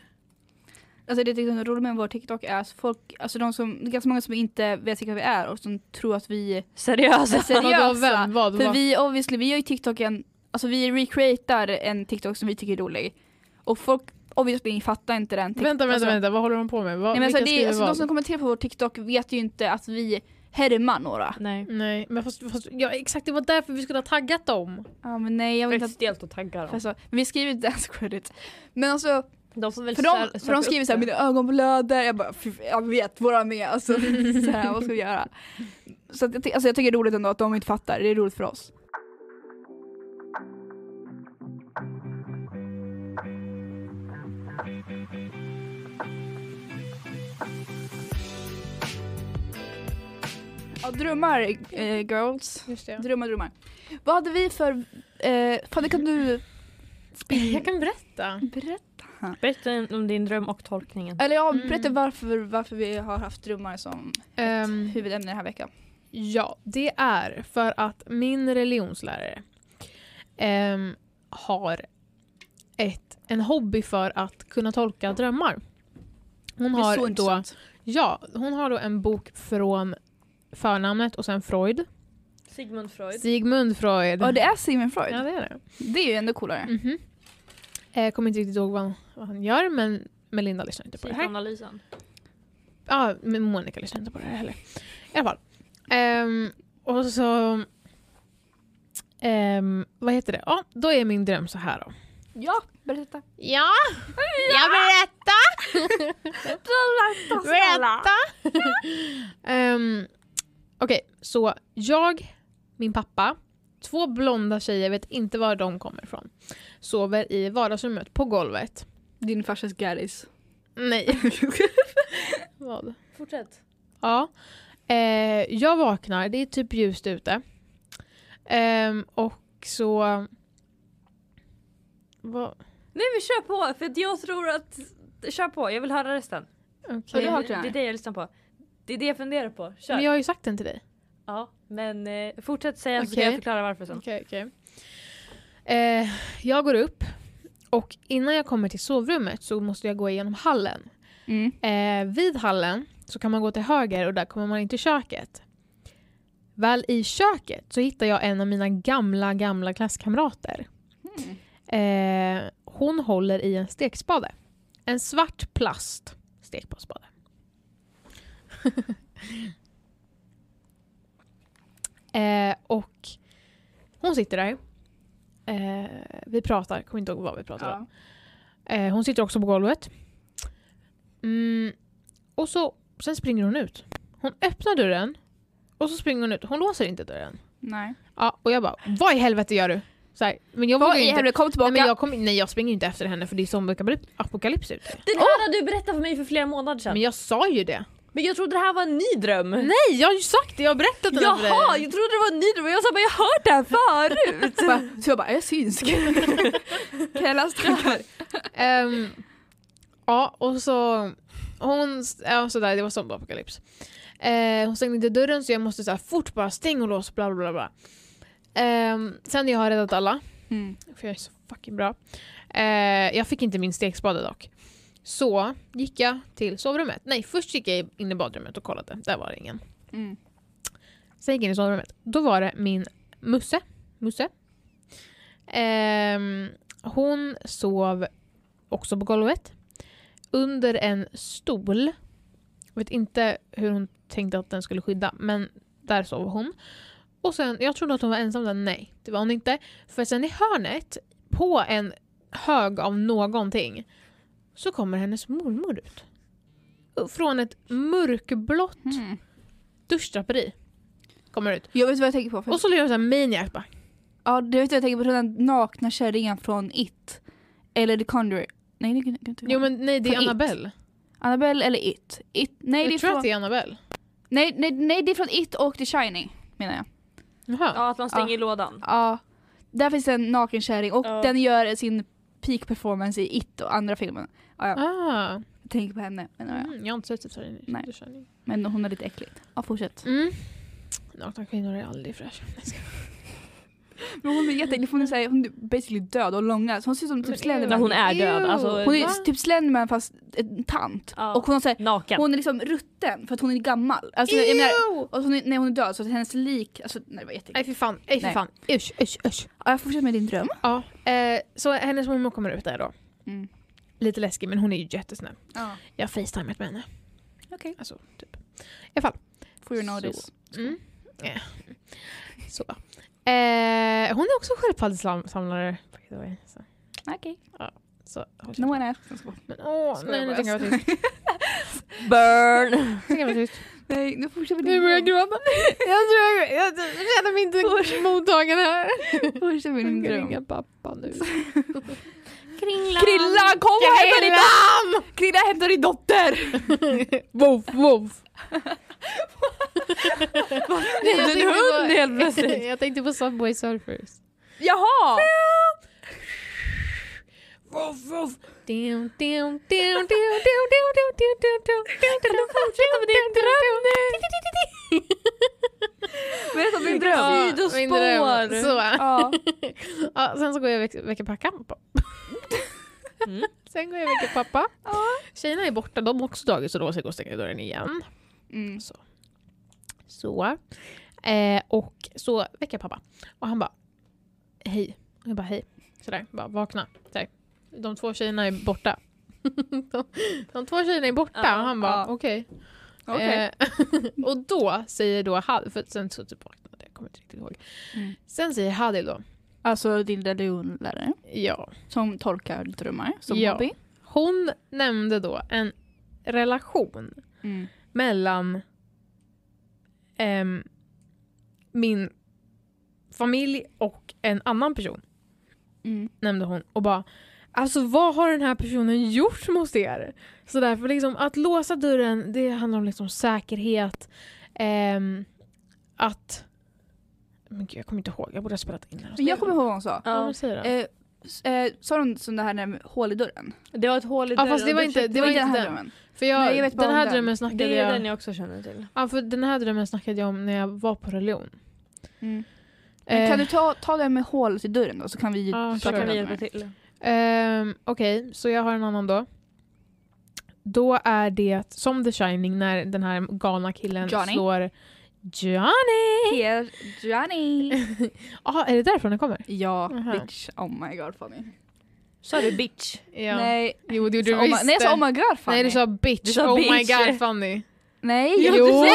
S3: Alltså det jag tyckte var roligt med vår TikTok är att folk, alltså de som, det är ganska många som inte vet vilka vi är och som tror att vi är
S2: <laughs> Seriöst.
S3: seriösa.
S4: Vadå, vem? Vad?
S3: För
S4: vad?
S3: vi obviously, vi gör ju TikToken, alltså vi recreatar en TikTok som vi tycker är rolig. Och folk obviously fattar inte den. TikTok-
S4: Vänta,
S3: alltså,
S4: vänta, vänta, vad håller de på med? Vad,
S3: Nej, men alltså,
S4: vilka
S3: det
S4: skriver
S3: är, alltså, de
S4: vad?
S3: som kommenterar på vår TikTok vet ju inte att vi härmar några.
S2: Nej.
S4: Nej, men fast, fast ja, exakt det var därför vi skulle ha taggat dem.
S3: Ja men nej jag
S2: Det
S3: vill
S2: är
S3: inte
S2: faktiskt
S3: att,
S2: stelt att tagga dem.
S3: alltså, vi skriver dance credit. Men alltså,
S2: De får väl
S3: för
S2: sö-
S3: de, för
S2: söka
S3: de
S2: upp
S3: skriver såhär
S2: det.
S3: mina ögon blöder, jag bara "Fy, jag vet våra med. Alltså, så här, vad ska vi göra? Så att, jag ty- alltså, jag tycker det är roligt ändå att de inte fattar, det är roligt för oss. Ja, drömmar eh, girls.
S4: Just det.
S3: Drömmar, drömmar. Vad hade vi för... Eh, fan, det kan du
S4: <laughs> Jag kan berätta.
S3: berätta.
S2: Berätta om din dröm och tolkningen.
S3: Eller ja,
S4: Mm.
S3: berätta varför, varför vi har haft drömmar som <laughs>
S4: Ehm,
S3: huvudämne den här veckan.
S4: Ja, det är för att min religionslärare ehm, har ett, en hobby för att kunna tolka drömmar. Hon
S3: Det är så
S4: har, då,
S3: intressant.
S4: ja, hon har då en bok från förnamnet och sen Freud.
S2: Sigmund Freud.
S4: Sigmund Freud.
S3: Ja, Mm. det är Sigmund Freud.
S4: Ja, det är det.
S3: Det är ju ändå coolare.
S4: Mhm. Eh, kommer inte riktigt ihåg vad, vad han gör men Melinda lyssnar inte på det här.
S2: Psykoanalysen.
S4: Ja, men Monica lyssnar inte på det här heller. I alla fall. Ehm, och så... ehm, vad heter det? Ja, då är min dröm så här då.
S3: Ja, berätta.
S4: Ja, jag <laughs> berättar!
S3: Äh,
S4: Berätta! <laughs> Ehm, Okej, så jag, min pappa, två blonda tjejer, vet inte var de kommer ifrån, sover i vardagsrummet på golvet.
S3: Din farsas garris.
S4: Nej. <laughs> Vad?
S2: Fortsätt.
S4: Ja. Eh, jag vaknar, det är typ ljust ute. Ehm, och så... Va?
S2: Nej men kör på för att jag tror att... Kör på, jag vill höra resten.
S4: Okej.
S3: Har du
S2: Det,
S3: hört den
S2: det,
S3: här?
S2: är det jag lyssnar på. Det är det jag funderar på. Kör.
S4: Men jag har ju sagt den till dig.
S2: Ja, men eh, fortsätt säga så ska
S4: Okej.
S2: jag förklara varför
S3: Alltså.
S2: sen.
S4: Okej, okej. Eh, jag går upp och innan jag kommer till sovrummet så måste jag gå igenom hallen.
S3: <laughs> Mm.
S4: Eh, vid hallen så kan man gå till höger och där kommer man in till köket. Väl i köket så hittar jag en av mina gamla, gamla klasskamrater.
S3: Mm.
S4: Eh, hon håller i en stekspade. En svart plast stekspade. <laughs> eh, och hon sitter där. Eh, vi pratar, kommer inte ihåg vad vi pratar om.
S3: Ja.
S4: Eh, hon sitter också på golvet. Mm, och så, sen springer hon ut. Hon öppnar dörren och så springer hon ut. Hon låser inte dörren.
S3: Nej.
S4: Ja, och jag bara, vad i helvete gör du? Så här, men jag
S3: Vad
S4: vågar
S3: i
S4: ju inte.
S3: helvete, kom tillbaka!
S4: Nej, men jag, kom, nej jag springer ju inte efter henne för det är zombieapokalyps ute.
S2: Den här hade du berättat för mig för flera månader sedan.
S4: Men jag sa ju det.
S2: Men jag trodde det här var en ny dröm.
S3: Mm.
S4: Nej jag har ju sagt det, jag har berättat det här för
S2: Jaha,
S4: dig.
S2: jag trodde det var en ny dröm och jag sa bara jag har hört det här förut.
S3: Så <laughs> bara- Så jag bara, är jag <laughs> synsk? Kallas <laughs> tankar.
S4: Ehm, ja, och så... Hon, ja, sådär, det var zombieapokalyps. Eh, hon stängde inte dörren så jag måste så här, fort bara stäng och lås bla bla bla. Um, sen jag har räddat alla,
S3: Mm.
S4: för jag är så fucking bra. Eh, jag fick inte min stekspade dock. Så gick jag till sovrummet. Nej, först gick jag in i badrummet och kollade. Där var det ingen.
S3: Mm.
S4: Sen gick jag in i sovrummet. Då var det min Musse. Musse. Ehm, hon sov också på golvet. Under en stol. Vet inte hur hon tänkte att den skulle skydda. Men där sov hon. Och sen, jag trodde att hon var ensam där. Nej, det var hon inte. För sen i hörnet, på en hög av någonting, så kommer hennes mormor ut. Från ett mörkblått
S3: Mm.
S4: duschdraperi. Kommer ut.
S3: Jag vet vad jag tänker på. För...
S4: Och så blir jag såhär maniac bara.
S3: Ja, du vet vad jag tänker på, den där nakna kärringen från It. Eller The Conjuring. Nej, det kan inte
S4: Jo men nej det är
S3: Från It.
S4: Annabelle.
S3: Annabelle eller It. It. Nej, det är
S4: jag tror
S3: från...
S4: att det är Annabelle.
S3: Nej, nej, nej, det är från It och The Shining, menar jag.
S4: Jaha.
S2: <laughs> Ja, att man stänger lådan.
S3: Ja. Där finns en naken kärring och
S2: Ja.
S3: den gör sin peak performance i It och andra filmen.
S4: Ah.
S3: Jag tänker på henne, men, ja, ja.
S4: Mm, jag har inte sett det.
S3: Nej.
S4: Nej.
S3: men hon är lite äcklig. Ja, fortsätt.
S4: Mm. Nakna kvinnor är aldrig fräscha. Nej, jag skojar.
S3: Men hon är jätteäcklig, för hon är, så här, hon är basically död och långa, så hon ser ut som
S4: Men
S3: typ
S2: När
S3: Slenderman.
S2: hon är död,
S4: Ew.
S2: alltså-
S3: Hon
S4: Va?
S3: är typ Slenderman fast en tant.
S2: Ja.
S3: Och hon, har så här,
S2: Naken.
S3: hon är liksom rutten för att hon är gammal. Alltså, jag menar,
S4: Ew!
S3: och hon är, när hon är död så att hennes lik, alltså nej, det var
S4: Nej
S3: jätteäckligt.
S4: fy fan, nej fy
S3: Nej.
S4: fan. Usch, usch, usch.
S3: Ja, jag fortsätter med din dröm.
S4: Ja. Eh, så hennes mormor kommer ut där då.
S3: Mm.
S4: Lite läskig men hon är ju jättesnäll.
S3: Ja.
S4: Jag har facetimat med henne.
S3: Okej.
S4: Alltså typ. I alla fall.
S3: For your notice.
S4: Mm. Eh. Så. Eh, hon är också sköldpaddesamlare. by the way, Så.
S3: Okej.
S4: Så, håll
S3: No one else.
S4: Men åh,
S3: Skojar
S4: nej nu
S3: bara.
S4: tänker jag vara tyst.
S2: Burn!
S4: Tänker jag vara tyst.
S3: Nej, nu fortsätter vi
S4: Nu
S3: din
S4: börjar jag
S3: dröm.
S4: gråta. <laughs> Jag tror jag, jag känner mig inte mottagen här.
S3: Fortsätt med din
S4: Jag ska
S3: dröm.
S4: ringa pappa nu.
S2: Kringlan!
S3: Krilla, kom och hämta din
S4: <laughs>
S3: Krilla hämtar din dotter!
S4: Woof woof.
S2: blev det en
S4: jag tänkte på-
S2: hund helt plötsligt?
S4: <laughs> jag tänkte på Subway Surfers.
S3: Jaha!
S4: Voff, voff. Dum, dum, dum, dum, dum, dum, dum, dum, dum, dum, dum, dum, dum, dum, dum, dum,
S3: <laughs>
S2: Berätta din
S4: dum. Ja, min dröm.
S2: Sidospår!
S4: Så.
S3: Ja.
S4: Ja, sen så går jag och väck- väcker pappa. kamp.
S2: Mm.
S4: <laughs> Sen går jag och väcker pappa.
S3: Ja.
S4: Tjejerna är borta, de har också dagis så de ska gå och stänga dörren igen.
S3: Mm.
S4: Så. Eh, och så väcker jag pappa. Och han bara hej. Och jag bara hej. Sådär, bara vakna. Sådär. De två tjejerna är borta. <laughs> de, de två tjejerna är borta
S2: Ja,
S4: och han bara
S3: ja.
S4: okej.
S3: Okej.
S4: Eh, <laughs> och då säger då Hadi, för sen så typ vaknade jag, jag kommer inte riktigt ihåg.
S3: Mm.
S4: Sen säger Hadi då,
S3: Alltså Dilda Leon-lärare
S4: ja.
S3: som tolkar drömmar som
S4: Ja.
S3: hobby.
S4: Hon nämnde då en relation
S3: Mm.
S4: mellan ehm, min familj och en annan person,
S3: Mm.
S4: nämnde hon. Och bara, alltså vad har den här personen gjort mot er? Så därför liksom, att låsa dörren, det handlar om liksom säkerhet. ehm, att... Men gud, jag kommer inte ihåg, jag borde ha spelat in det. här.
S3: Men Jag kommer ihåg vad hon sa.
S4: Ja,
S2: Ja.
S4: men säg då.
S3: Eh, s- eh, sa hon som det här med hål i dörren?
S2: Det var ett hål i
S4: Ja,
S2: dörren
S4: fast det
S2: och
S4: var
S2: då
S4: inte-
S2: försökte-
S4: det var
S3: inte
S4: inte den. För jag,
S3: Nej, jag vet bara
S4: den
S3: om
S4: här
S3: den.
S4: drömmen snackade
S2: Det är
S4: jag...
S2: den jag också känner till.
S4: Ja, för den här drömmen snackade jag om när jag var på religion.
S3: Mm. Men Kan du ta, ta den med hålet i dörren då så kan vi
S4: Eh.
S2: Så
S4: Ja, Sure.
S2: kan vi
S3: den
S2: hjälpa
S3: med.
S2: till.
S4: Ehm, Okej, så jag har en annan då. Då är det som The Shining när den här galna killen
S3: Johnny.
S4: slår Johnny!
S3: Here, Johnny!
S4: Ah, är det därifrån den kommer?
S3: Ja,
S4: Aha.
S3: bitch. Oh my god Fanny.
S2: Sa du bitch?
S4: Ja.
S3: Nej,
S4: Jo, det gjorde
S3: så
S4: du
S3: oh my,
S4: visst.
S3: nej jag sa oh my god Fanny.
S4: Nej, du sa bitch.
S2: Du sa
S4: oh my
S2: bitch.
S4: god Fanny.
S3: nej.
S4: Jo,
S3: du
S4: jo,
S3: sa-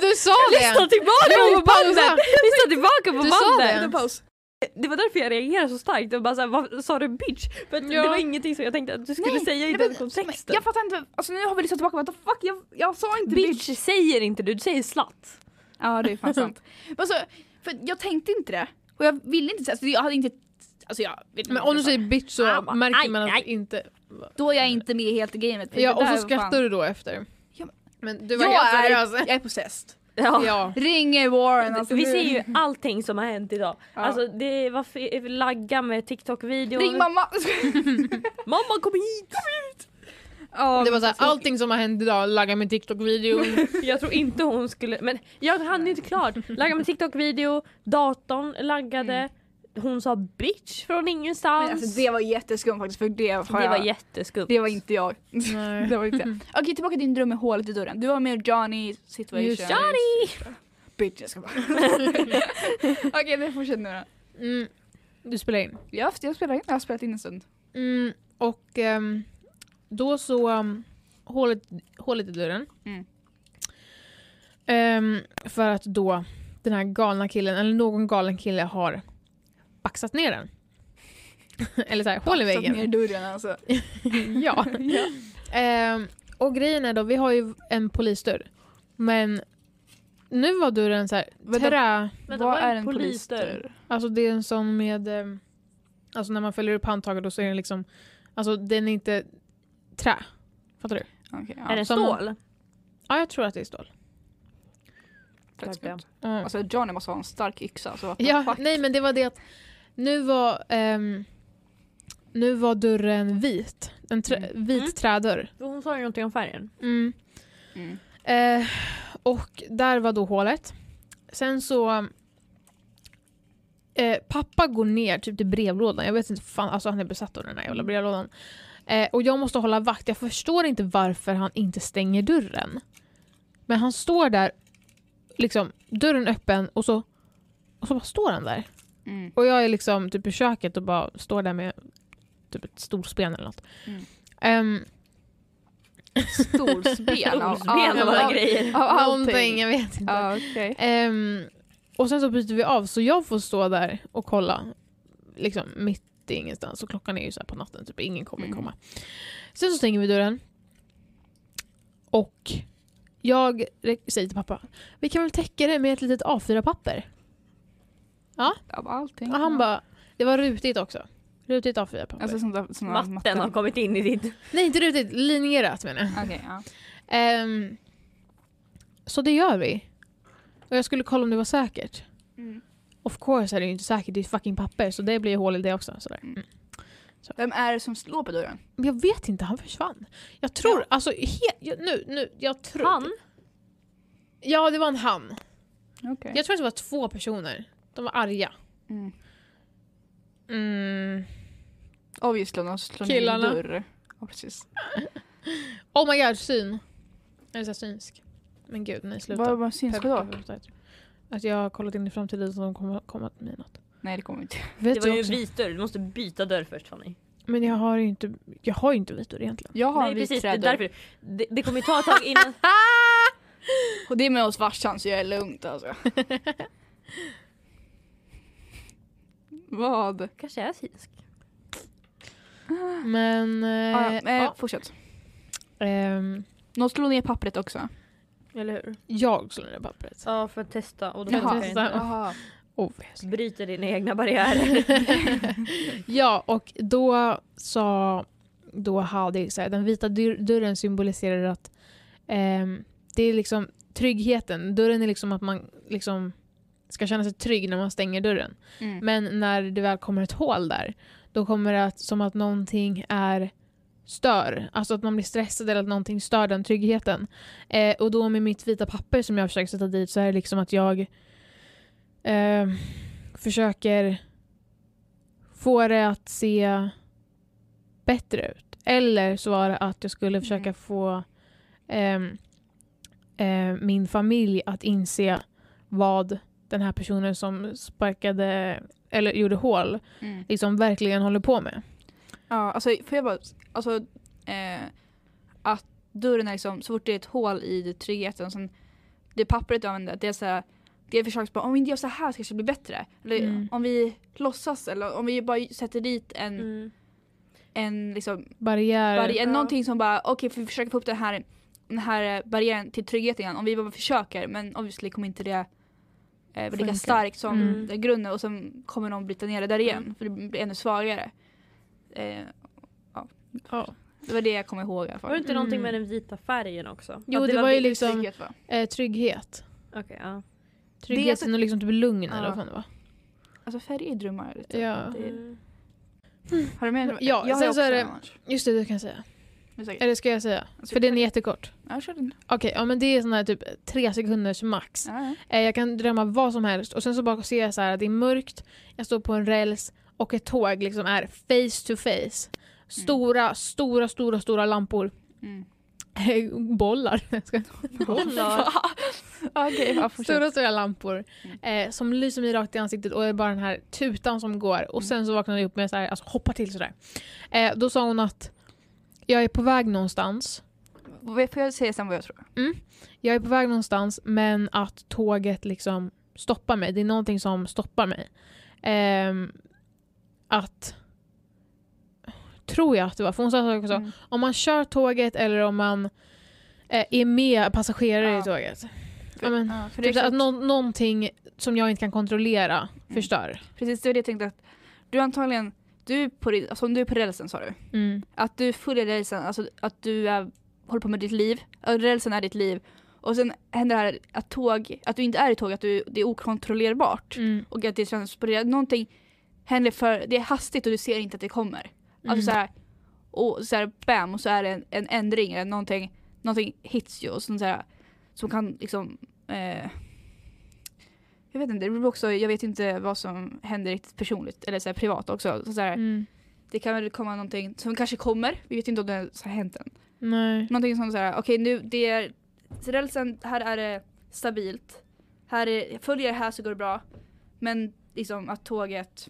S4: du sa
S2: Lyssna
S4: det!
S2: tillbaka
S4: Jo,
S2: på bandet! Lyssna tillbaka på
S4: Du sa
S2: bandet!
S4: det.
S3: Paus.
S2: Det var därför jag reagerade så starkt. Jag bara såhär, vad sa du bitch? För att
S4: Ja.
S2: det var ingenting som jag tänkte att du skulle
S3: Nej,
S2: säga i
S3: nej,
S2: den
S3: men-
S2: kontexten.
S3: Jag fattar inte, alltså nu har vi lyssnat tillbaka, what the fuck, jag, jag sa inte
S2: bitch säger inte du, du säger slatt.
S3: Ja det
S4: <laughs>
S3: är fan sant. Men alltså, för jag tänkte inte det. Och jag ville inte säga, alltså, jag hade inte... Alltså jag vet
S4: Men om du säger bitch så
S2: Ah, bara,
S4: märker
S2: aj,
S4: man att
S2: aj.
S4: du inte...
S3: Då är jag inte med helt i gamet. för det
S4: Ja, och
S3: där
S4: så
S3: var fan-
S4: skrattar du då efter.
S3: Ja,
S4: Men du var
S3: Jag
S4: helt
S3: är,
S4: seriös.
S3: jag är possessed.
S2: <laughs> Ja.
S4: Ja. <laughs>
S3: Ringer Warren alltså.
S2: vi
S3: nu.
S2: ser ju allting som har hänt idag.
S3: Ja.
S2: Alltså det var f- lagga med TikTok-videon.
S3: Ring <laughs> mamma!
S2: Mamma kom hit!
S4: Det var såhär, allting som har hänt idag laggar med TikTok-videon.
S2: Jag tror inte hon skulle, men jag hann ju inte klart. Lagga med TikTok-video, datorn laggade, hon sa bitch från ingenstans.
S3: Mm. Men alltså, det var jätteskumt faktiskt för det har
S2: Det
S3: jag...
S2: var jätteskumt.
S3: det var inte jag. <laughs>
S4: Nej.
S3: det var inte jag. Okej tillbaka till din dröm med hålet i dörren. Du var med Johnny situation.
S4: Just det.
S2: Johnny!
S3: Bitch jag
S4: <laughs>
S3: ska bara. Okej nu fortsätt nu då.
S4: Mm. Du spelar in.
S3: Jag, jag, spelar in. jag har spelat in en stund.
S4: Mm, och ehm, då så... Um, hålet, hålet i dörren.
S3: Mm.
S4: Ehm, för att då den här galna killen, eller någon galen kille har baxat ner den. <laughs> eller såhär, hål i
S3: Satt ner
S4: väggen.
S3: dörren alltså.
S4: ja.
S3: <laughs> Ja.
S4: Ehm, och grejen är då, vi har ju en polisdörr. Men nu var dörren såhär
S3: Vänta.
S4: trä...
S2: Vänta, vad är en polisdörr?
S4: Alltså det är en sån med... ehm, Alltså när man fäller upp handtaget då så är den liksom... Alltså den är inte trä. Fattar du?
S3: Okej,
S2: Är det
S4: som-
S2: stål?
S4: Ja, jag tror att det är stål.
S3: ja. Fett skumt.
S4: Mm.
S3: Alltså Johnny måste ha en stark yxa. Så what the
S4: Ja,
S3: fuck?
S4: nej men det var det att nu var, ehm, nu var dörren vit. En trä, vit
S2: Mm.
S4: trädörr.
S2: För Hon sa ju någonting om färgen.
S4: Mm.
S3: Mm.
S4: Eh, och där var då hålet. Sen så... Eh, pappa går ner typ till brevlådan. Jag vet inte, fan, alltså han är besatt av den här jävla
S3: Mm.
S4: brevlådan. Eh, och jag måste hålla vakt. Jag förstår inte varför han inte stänger dörren. Men han står där, liksom dörren öppen och så, och så bara står han där.
S3: Mm.
S4: Och jag är liksom typ i köket och bara står där med typ ett storspen eller något.
S3: Mm.
S4: Ehm,
S2: <laughs>
S3: Stolsben av,
S2: Stolsben av alla grejer.
S3: <laughs> av
S4: någonting,
S3: allting.
S4: jag vet inte.
S3: Ja, okej.
S4: Ehm, och sen så byter vi av så jag får stå där och kolla liksom mitt i ingenstans och klockan är ju så här på natten, typ ingen kommer
S3: Mm.
S4: komma. Sen så stänger vi dörren och jag re- säger till pappa vi kan väl täcka det med ett litet A4-papper.
S3: Av allting.
S4: Och han bara, det var rutigt också. Rutigt A4-papper.
S3: Alltså sånt där, sån där
S2: Vatten har kommit in i ditt...
S4: Nej inte rutigt, linjerat menar jag.
S3: Okej, ja.
S4: Ehm, Så det gör vi. Och jag skulle kolla om det var säkert.
S3: Mm.
S4: Of course är det ju inte säkert, det är fucking papper så det blir ju hål i det också. Sådär.
S3: Mm.
S4: Mm.
S3: Vem är det som slår på dörren?
S4: Men jag vet inte, han försvann. Jag tror, alltså he- jag, nu, nu, jag tror...
S2: Han?
S4: Ja det var en han.
S3: Okej.
S4: Jag tror att det var två personer. De var arga.
S3: Mm.
S4: Mm.
S3: Obviously någon som slår ner en
S4: Killarna.
S3: dörr. Ja, precis.
S4: Oh my god, syn. Jag är så här synsk. Men gud, nej sluta.
S3: Vad var syns
S4: Pepp-
S3: då?
S4: pepp- pepp- Att jag har kollat in i framtiden så de kommer komma till mig något.
S3: Nej det kommer inte.
S4: Vet
S2: Det var
S4: du
S2: ju en
S4: också?
S2: vit dörr, du måste byta dörr först Fanny.
S4: Men jag har ju inte, jag har ju inte vitor egentligen.
S3: Jag har
S2: Nej
S3: en
S2: precis,
S3: vit
S2: det är
S3: trädörr.
S2: därför. Det, det kommer ju ta ett tag innan...
S3: Och det är med oss farsan så jag är
S4: <laughs>
S3: lugnt alltså. Vad?
S2: Kanske är synsk.
S4: Men... Eh,
S3: Ah, ja, eh,
S4: ja,
S3: Fortsätt.
S4: ehm,
S3: Någon slår ner pappret också.
S2: Eller hur?
S4: jag slår ner pappret.
S2: Ja, för att testa och då
S4: Jaha.
S2: funkar det inte.
S3: Jaha.
S4: Oh,
S2: Bryter dina egna barriärer.
S4: <laughs> ja, och då sa då hade så här, den vita dyr- dörren symboliserar att ehm, det är liksom tryggheten. Dörren är liksom att man liksom ska känna sig trygg när man stänger dörren.
S3: Mm.
S4: Men när det väl kommer ett hål där, då kommer det att, som att någonting är stör. Alltså att man blir stressad eller att någonting stör den tryggheten. Eh, och då med mitt vita papper som jag försöker sätta dit så är det liksom att jag eh, försöker få det att se bättre ut. Eller så var det att jag skulle försöka
S3: Mm.
S4: få ehm, eh, min familj att inse vad den här personen som sparkade eller gjorde hål
S3: Mm.
S4: liksom verkligen håller på med.
S3: Ja, alltså får jag bara, alltså eh, att dörren är liksom, så fort det är ett hål i tryggheten, sen det pappret du använder, det är så här, det är försök på om vi inte gör så här så kanske det blir bättre. Eller
S4: Mm.
S3: om vi låtsas eller om vi bara sätter dit en,
S2: Mm.
S3: en liksom,
S4: Barriär.
S3: barriär,
S2: Ja.
S3: någonting som bara, okej för vi försöker få upp den här, den här eh, barriären till tryggheten igen. Om vi bara försöker men obviously kommer inte det eh, vara lika
S4: Funka.
S3: starkt som
S4: Mm.
S3: den grunden och sen kommer någon bryta ner det där igen
S2: Mm.
S3: för det blir ännu svagare. Eh,
S4: Ja.
S3: det var det jag kom ihåg i alla fall.
S2: Var det inte någonting
S4: Mm.
S2: med den vita färgen också?
S4: Jo,
S2: Att
S4: det var ju
S2: vitt.
S4: liksom-
S3: Trygghet, va?
S4: Eh, trygghet.
S2: Okej, ja.
S4: Tryggheten och liksom att du blir lugn
S3: alltså- Ja.
S4: eller vad fan det var.
S3: Alltså färg är drömmar lite.
S4: Ja. Mm.
S3: Det-
S2: Mm.
S3: Har du med en-
S4: Ja,
S3: jag har
S4: sen
S3: ju
S4: så är
S3: också
S4: det-
S3: en annars.
S4: Just det, du kan säga.
S3: Men säkert.
S4: Eller ska jag säga? För den är jättekort.
S3: Ja, kör den.
S4: Okej, ja men det är sån här typ tre sekunders max.
S3: Ja, ja.
S4: Eh, jag kan drömma vad som helst och sen så bara ser jag så här att det är mörkt, jag står på en räls och ett tåg liksom är face to face. Stora, stora, stora, stora lampor. <laughs>
S3: Mm.
S4: Bollar. <laughs> Jag skojar.
S3: <laughs>
S2: Bollar.
S3: Okej, ja, fortsätt. Mm.
S4: Stora, stora lampor eh, som lyser mig rakt i ansiktet och det är bara den här tutan som går.
S3: Mm.
S4: Och sen så vaknade jag upp med så här, alltså hoppa till sådär. Eh, då sa hon att jag är på väg någonstans.
S3: Får jag säga sen vad jag tror?
S4: Jag är på väg någonstans men att tåget liksom stoppar mig. Det är någonting som stoppar mig. Ehm, att... Tror jag att det var. För hon sa saker också.
S3: Mm.
S4: Om man kör tåget eller om man eh, är med passagerare
S3: Ja.
S4: i tåget.
S3: För,
S4: Ja, men,
S3: ja, för det är
S4: Typ så
S3: klart- Mm.
S4: att nå- någonting som jag inte kan kontrollera förstör.
S3: Precis, det var det jag tänkte att du antagligen, du på, din- alltså, om du är på rälsen sa du,
S4: Mm.
S3: att du följer rälsen, alltså att du är, håller på med ditt liv, att rälsen är ditt liv och sen händer det här att tåg, att du inte är i tåg, att du, det är okontrollerbart
S4: Mm.
S3: och att det transporterar, någonting händer för, det är hastigt och du ser inte att det kommer.
S4: Mm.
S3: Alltså såhär, och såhär bam och så är det en, en ändring eller någonting, någonting hits you och sånt såhär, som kan liksom eh, jag vet inte, det beror också, jag vet inte vad som händer riktigt personligt eller såhär privat också. Så såhär,
S4: Mm.
S3: Det kan väl komma någonting som kanske kommer, vi vet inte om det ens har hänt än.
S4: Nej.
S3: Någonting som såhär, okej nu det är rälsen, här är det stabilt. Här är, följer det här så går det bra. Men liksom att tåget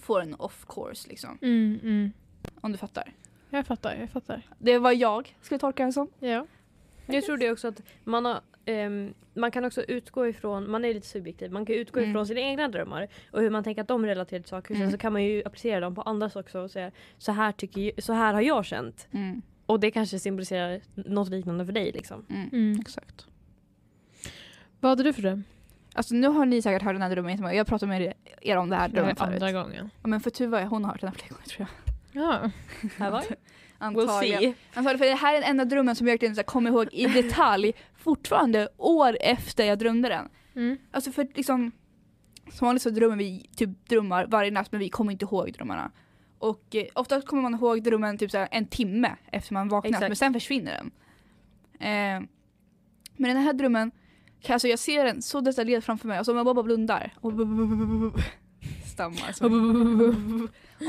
S3: får en off course liksom,
S4: Mm, mm.
S3: om du fattar.
S4: Jag fattar, jag fattar.
S3: Det var jag, skulle jag tolka det som.
S4: Ja.
S2: Jag tror det också att man, har, ehm, man kan också utgå ifrån, man är lite subjektiv, man kan utgå
S3: Mm.
S2: ifrån sina egna drömmar och hur man tänker att de relaterar till saker.
S3: Mm.
S2: Sen så kan man ju applicera dem på andras också och säga så här, tycker, jag- så här har jag känt.
S3: Mm,
S2: Och det kanske symboliserar något liknande för dig
S3: <laughs>
S2: liksom.
S4: Mm.
S3: Exakt.
S4: Vad hade du för dröm?
S3: Alltså nu har ni säkert hört den här drömmen jättemånga. Jag pratade med er om det här
S4: Det
S3: drömmen
S4: var andra
S3: förut.
S4: gången.
S3: Ja, men för Tuva, hon har hört den här flera gånger tror jag.
S4: Ja.
S2: Have I? We'll
S3: Antagligen.
S2: see.
S3: Antagligen, för det här är den enda drömmen som jag verkligen så här kommer ihåg i detalj fortfarande år efter jag drömde den.
S4: Mm.
S3: Alltså för liksom som vanligt så drömmer vi typ drömmar varje natt men vi kommer inte ihåg drömmarna. Och eh, oftast kommer man ihåg drömmen typ så här en timme efter man vaknat
S2: Exakt.
S3: men sen försvinner den. Eh, men den här drömmen, alltså jag ser den så detaljerat framför mig, alltså om jag bara blundar och <laughs> stammar. Så.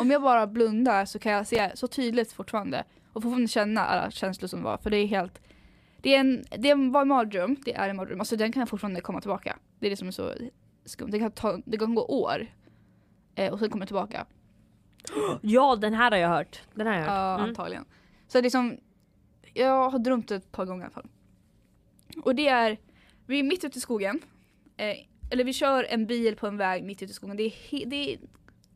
S3: Om jag bara blundar så kan jag se så tydligt fortfarande och fortfarande känna alla känslor som var för det är helt det, är en, det var en mardröm, det är en mardröm, alltså den kan fortfarande komma tillbaka. Det är det som är så skumt, det kan, ta, det kan gå år eh, och sen kommer det tillbaka.
S2: Ja, den här har jag hört. Den här har jag
S3: Ja,
S2: hört. Mm.
S3: antagligen. Så liksom, jag har drömt det ett par gånger i alla fall. Och det är, vi är mitt ute i skogen. Eh, eller vi kör en bil på en väg mitt ute i skogen. Det är, he- det är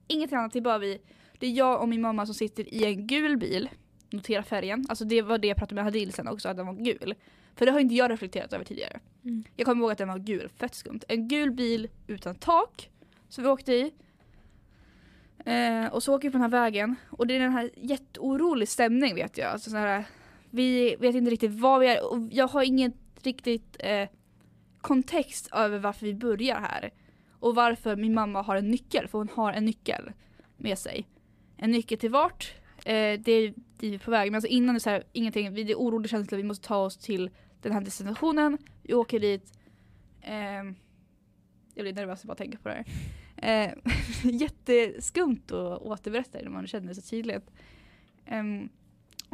S3: inget annat, det är bara vi. Det är jag och min mamma som sitter i en gul bil. Notera färgen. Alltså det var det jag pratade med Hadil sen också, att den var gul. För det har inte jag reflekterat över tidigare.
S4: Mm.
S3: Jag kommer ihåg att den var gul, fett skumt. En gul bil utan tak som vi åkte i. Eh, och så åker vi på den här vägen och det är den här jätteorolig stämning vet jag. Alltså, sån här, vi vet inte riktigt vad vi är och jag har ingen riktigt eh, kontext över varför vi börjar här. Och varför min mamma har en nyckel, för hon har en nyckel med sig. En nyckel till vart? Eh, det är dit vi är på väg. Men alltså innan det är så här, ingenting, vi- det är orolig känsla, vi måste ta oss till den här destinationen. Vi åker dit. Ehm, jag blir nervös av att bara tänka på det här. Eh, <laughs> jätteskumt att återberätta det när man känner det så tydligt. Ehm,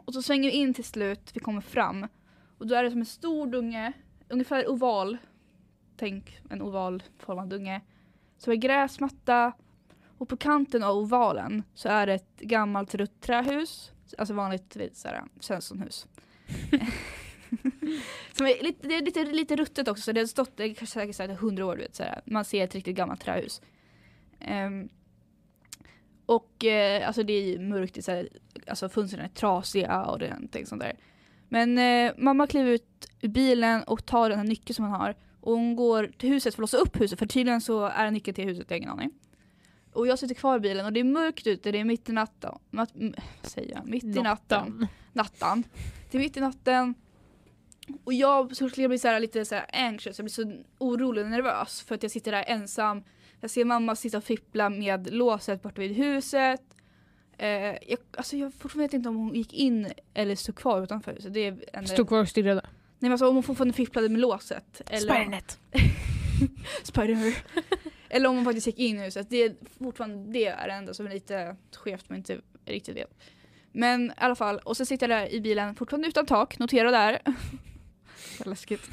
S3: och så svänger vi in till slut, vi kommer fram. Och då är det som en stor dunge, ungefär oval. Tänk en ovalformad dunge. Som är gräsmatta. Och på kanten av ovalen så är det ett gammalt rött trähus. Alltså vanligt vid så här, Svenssonhus. som är lite, det är lite, lite ruttet också, så det har stått det är kanske säkert så här 100 år. du Vet, så här. Man ser ett riktigt gammalt trähus. Ehm, och eh, alltså det är ju mörkt, det är så här, alltså fönstren är trasiga och det är någonting sånt där. Men eh, mamma kliver ut ur bilen och tar den här nyckeln som hon har och hon går till huset för att låsa upp huset för tydligen så är nyckeln till huset, jag har ingen aning. Och jag sitter kvar i bilen och det är mörkt ute, det är mitt i natten. Mat, m- vad säger jag? Mitt i natten nattan. Det är mitt i natten. Och jag så skulle jag bli så här lite så här anxious, jag blir så orolig och nervös för att jag sitter där ensam. Jag ser mamma sitta och fippla med låset borta vid huset. Eh, jag, alltså jag fortfarande vet inte om hon gick in eller stod kvar utanför huset. Det är en,
S4: Stod kvar och
S3: <laughs>
S4: stirrade.
S3: Nej men alltså om hon fortfarande fipplade med låset. Eller,
S4: Spidernet.
S3: <laughs> Spider. Eller om hon faktiskt gick in i huset. Det är fortfarande det är det enda som är lite skevt men inte riktigt vet. Men i alla fall, och så sitter jag där i bilen fortfarande utan tak, notera där. Vad läskigt.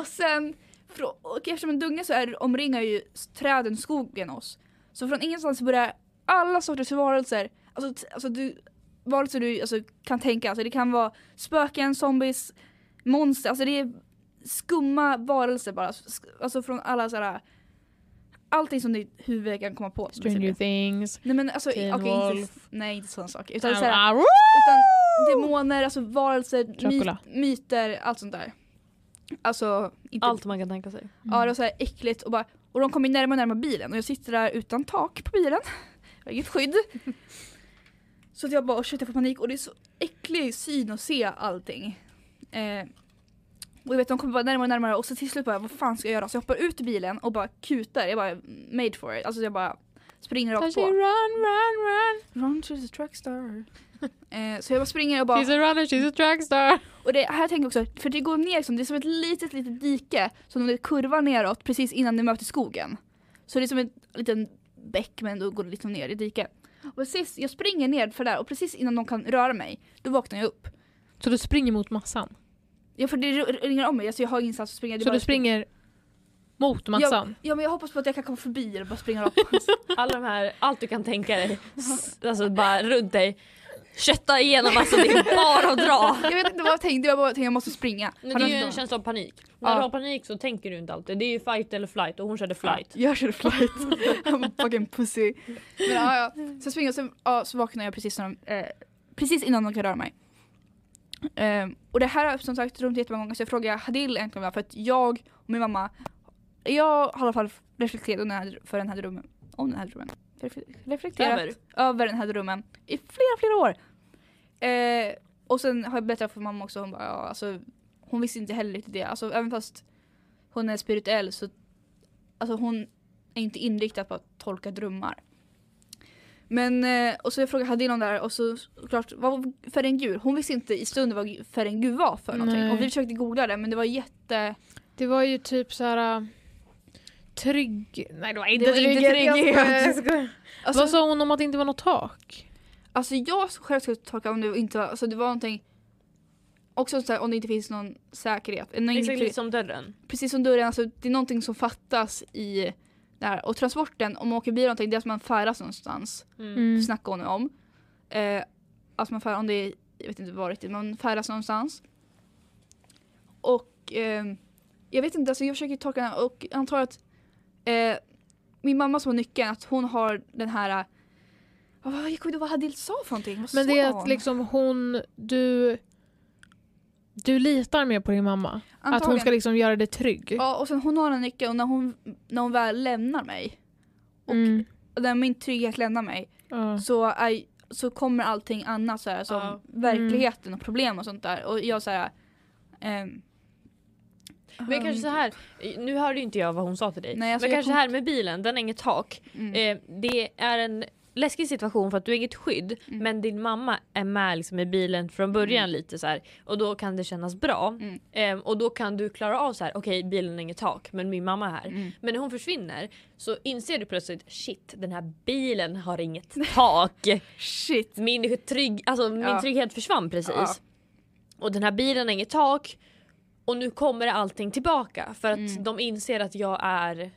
S3: och sen, frå- och eftersom en dunge så är, omringar ju träden skogen oss. Så från ingenstans börjar alla sorters varelser, alltså, t- alltså du, varelser du alltså, kan tänka, alltså det kan vara spöken, zombies, monster, alltså det är skumma varelser bara. Sk- Alltså från alla sådär, allting som ditt huvud kan komma på.
S4: Stranger things.
S3: Nej men alltså,
S4: Teen
S3: okej, inte,
S4: Wolf.
S3: nej inte sådana saker. Utan, såhär,
S4: Ah, woo!
S3: utan demoner, alltså varelser,
S4: Dracula.
S3: myt, myter, allt sånt där. Alltså, inte,
S2: Allt man kan tänka sig.
S3: ja det var såhär äckligt och bara, och de kommer närmare och närmare bilen och jag sitter där utan tak på bilen. <laughs> Jag har inget <laughs> skydd. Så att jag bara, oh shit jag får panik och det är så äcklig syn att se allting. Eh, och jag vet de kommer bara närmare och närmare och så till slut bara, vad fan ska jag göra? Så jag hoppar ut ur bilen och bara kutar, jag bara made for it. Alltså jag bara springer rakt
S4: Kanske
S3: på.
S4: run, run, run.
S3: Run to the trackstar. eh, så jag bara springer och bara,
S4: She's a runner, she's a trackstar.
S3: och det här tänker jag också, för det går ner liksom, det är som ett litet litet dike som det kurvar neråt precis innan det möter skogen. Så det är som en liten bäck men då går det liksom ner i diket. Och precis, jag springer ner för där och precis innan de kan röra mig, då vaknar jag upp.
S4: Så du springer mot massan?
S3: Ja för det r- ringer om mig, alltså jag har ingenstans att springa. det är
S4: Så
S3: bara-
S4: du springer mot
S3: <laughs>
S4: massan?
S3: Ja men jag hoppas på att jag kan komma förbi och bara springa rakt på.
S2: Alla de här, allt du kan tänka dig. S- Alltså bara runt dig. Kötta igenom alltså, det är bara att dra.
S3: jag vet inte vad jag tänkte, jag bara tänkte jag måste springa.
S2: Men
S3: Har
S2: det är
S3: du
S2: ju en
S3: någon-
S2: känsla av panik. När
S3: Ja.
S2: du har panik så tänker du inte alltid. Det är ju fight eller flight och hon körde flight.
S3: Jag körde flight.
S2: <laughs>
S3: I'm fucking pussy. Men ja, ja. Så jag springer och sen, ja, så vaknar jag precis, när de, eh, precis innan de kan röra mig. Ehm, och det här har jag som sagt runt jättemånga gånger så jag frågar Hadil egentligen varför för att jag och min mamma, jag har i alla fall reflekterat under den här, för den här drömmen, om den här drömmen. Ref- Reflekterat
S2: Över?
S3: över. den här drömmen i flera, flera år. Eh, och sen har jag berättat för mamma också, hon bara, ja, alltså, hon visste inte heller riktigt det. Alltså även fast hon är spirituell så alltså, hon är inte inriktad på att tolka drömmar. Men, eh, och så jag frågade Hadin om det här och så såklart, vad var färgen gul? Hon visste inte i stunden vad gu- färgen gul var för någonting.
S4: Nej.
S3: Och vi försökte googla det men det var jätte...
S4: Det var ju typ så här. äh, Trygg... Nej det var inte
S3: Det var inte
S4: trygghet. jag
S3: trygghet.
S4: skojar, jag skojar.
S2: liksom
S3: Alltså,
S4: Vad sa hon om att det inte var något tak?
S3: Alltså jag själv skulle tolka om det inte var, alltså det var någonting Också så här, om det inte finns någon säkerhet. Eh, Nej,
S2: Exakt
S3: inte-
S2: lite som liksom dörren.
S3: Precis som dörren, alltså, det är någonting som fattas i det här. Och transporten, om man åker bil någonting, det är att man färdas någonstans.
S2: Mm.
S4: Mm.
S3: Snackar hon om. Eh, alltså man färdas, om det är, jag vet inte vad riktigt, man färdas någonstans. Och ehm, jag vet inte, alltså jag försöker tolka den här och jag antar att eh, min mamma som har nyckeln, att hon har den här eh, vad- jag kommer inte ihåg vad Hadil sa för någonting. Vad
S4: Men det är
S3: sa
S4: att
S3: hon?
S4: liksom hon... Du... Du litar mer på din mamma. Att hon
S3: Antagligen.
S4: ska liksom göra dig trygg.
S3: Ja, och sen hon har en nyckel och när hon, när hon väl lämnar mig, och-
S4: Mm.
S3: och när min trygghet lämnar mig,
S4: Ja.
S3: så, är, så kommer allting annat så här, som
S2: Ja.
S3: verkligheten och problem och sånt där. Och jag så här, ehm, um,
S2: Men kanske så här, nu hörde ju inte jag vad hon sa till dig.
S3: Nej, alltså
S2: men
S3: jag
S2: kanske
S3: kom-
S2: det här med bilen, den har inget tak.
S3: Mm.
S2: Eh, det är en läskig situation för att du har inget skydd
S3: Mm.
S2: men din mamma är med liksom i bilen från början lite så här och då kan det kännas bra.
S3: Mm.
S2: Eh, och då kan du klara av så här, okej bilen har inget tak men min mamma är här.
S3: Mm.
S2: Men när hon försvinner så inser du plötsligt shit den här bilen har inget <laughs> tak.
S3: Shit.
S2: Min, trygg, alltså, min
S3: Ja.
S2: trygghet försvann precis.
S3: Ja.
S2: Och den här bilen har inget tak. Och nu kommer allting tillbaka för att
S3: Mm.
S2: de inser att jag är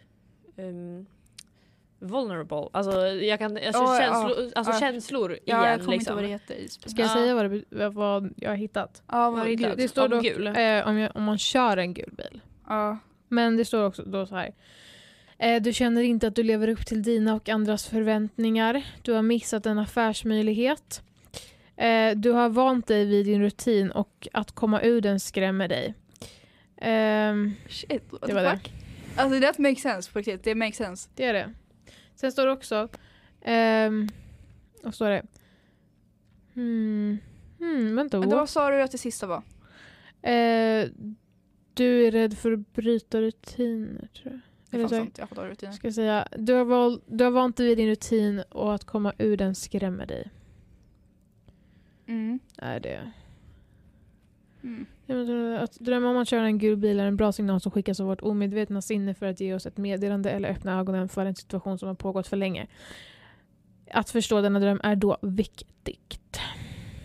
S2: ehm, vulnerable. Alltså, jag kan, alltså,
S3: Ja, ja,
S2: känslo, alltså
S3: ja.
S2: känslor igen.
S3: Ja, jag kommer inte
S2: liksom.
S3: ihåg vad det heter.
S4: Ska jag
S2: Ja.
S4: säga vad, det, be- vad jag har hittat?
S3: Ja, vad
S2: Vad
S3: det
S2: heter
S3: heter.
S4: Det står
S2: Om
S4: dock
S2: gul.
S4: eh, om, jag, om man kör en gul bil.
S3: Ja.
S4: Men det står också då så här. Eh, Du känner inte att du lever upp till dina och andras förväntningar. Du har missat en affärsmöjlighet. Eh, Du har vant dig vid din rutin och att komma ur den skrämmer dig. Ehm,
S3: Shit, what
S4: Det
S3: the
S4: var det.
S3: fuck? Alltså det makes sense på riktigt, det makes sense.
S4: Det är det. Sen står det också... ehm, vad står det? Hmm, hmm, vänta.
S3: Men då,
S4: what?
S3: vad sa du att det sista var?
S4: Eh, du är rädd för att bryta rutiner, tror jag.
S3: Det
S4: Eller
S3: fanns
S4: så-
S3: inte, jag fattar rutiner.
S4: Ska jag säga, du har, val, du har vant dig vid din rutin och att komma ur den skrämmer dig.
S3: Mm.
S4: Är det.
S3: Mm.
S4: Jag menar, Att drömma om att köra en gul bil är en bra signal som skickas av vårt omedvetna sinne för att ge oss ett meddelande eller öppna ögonen för en situation som har pågått för länge. Att förstå denna dröm är då viktigt.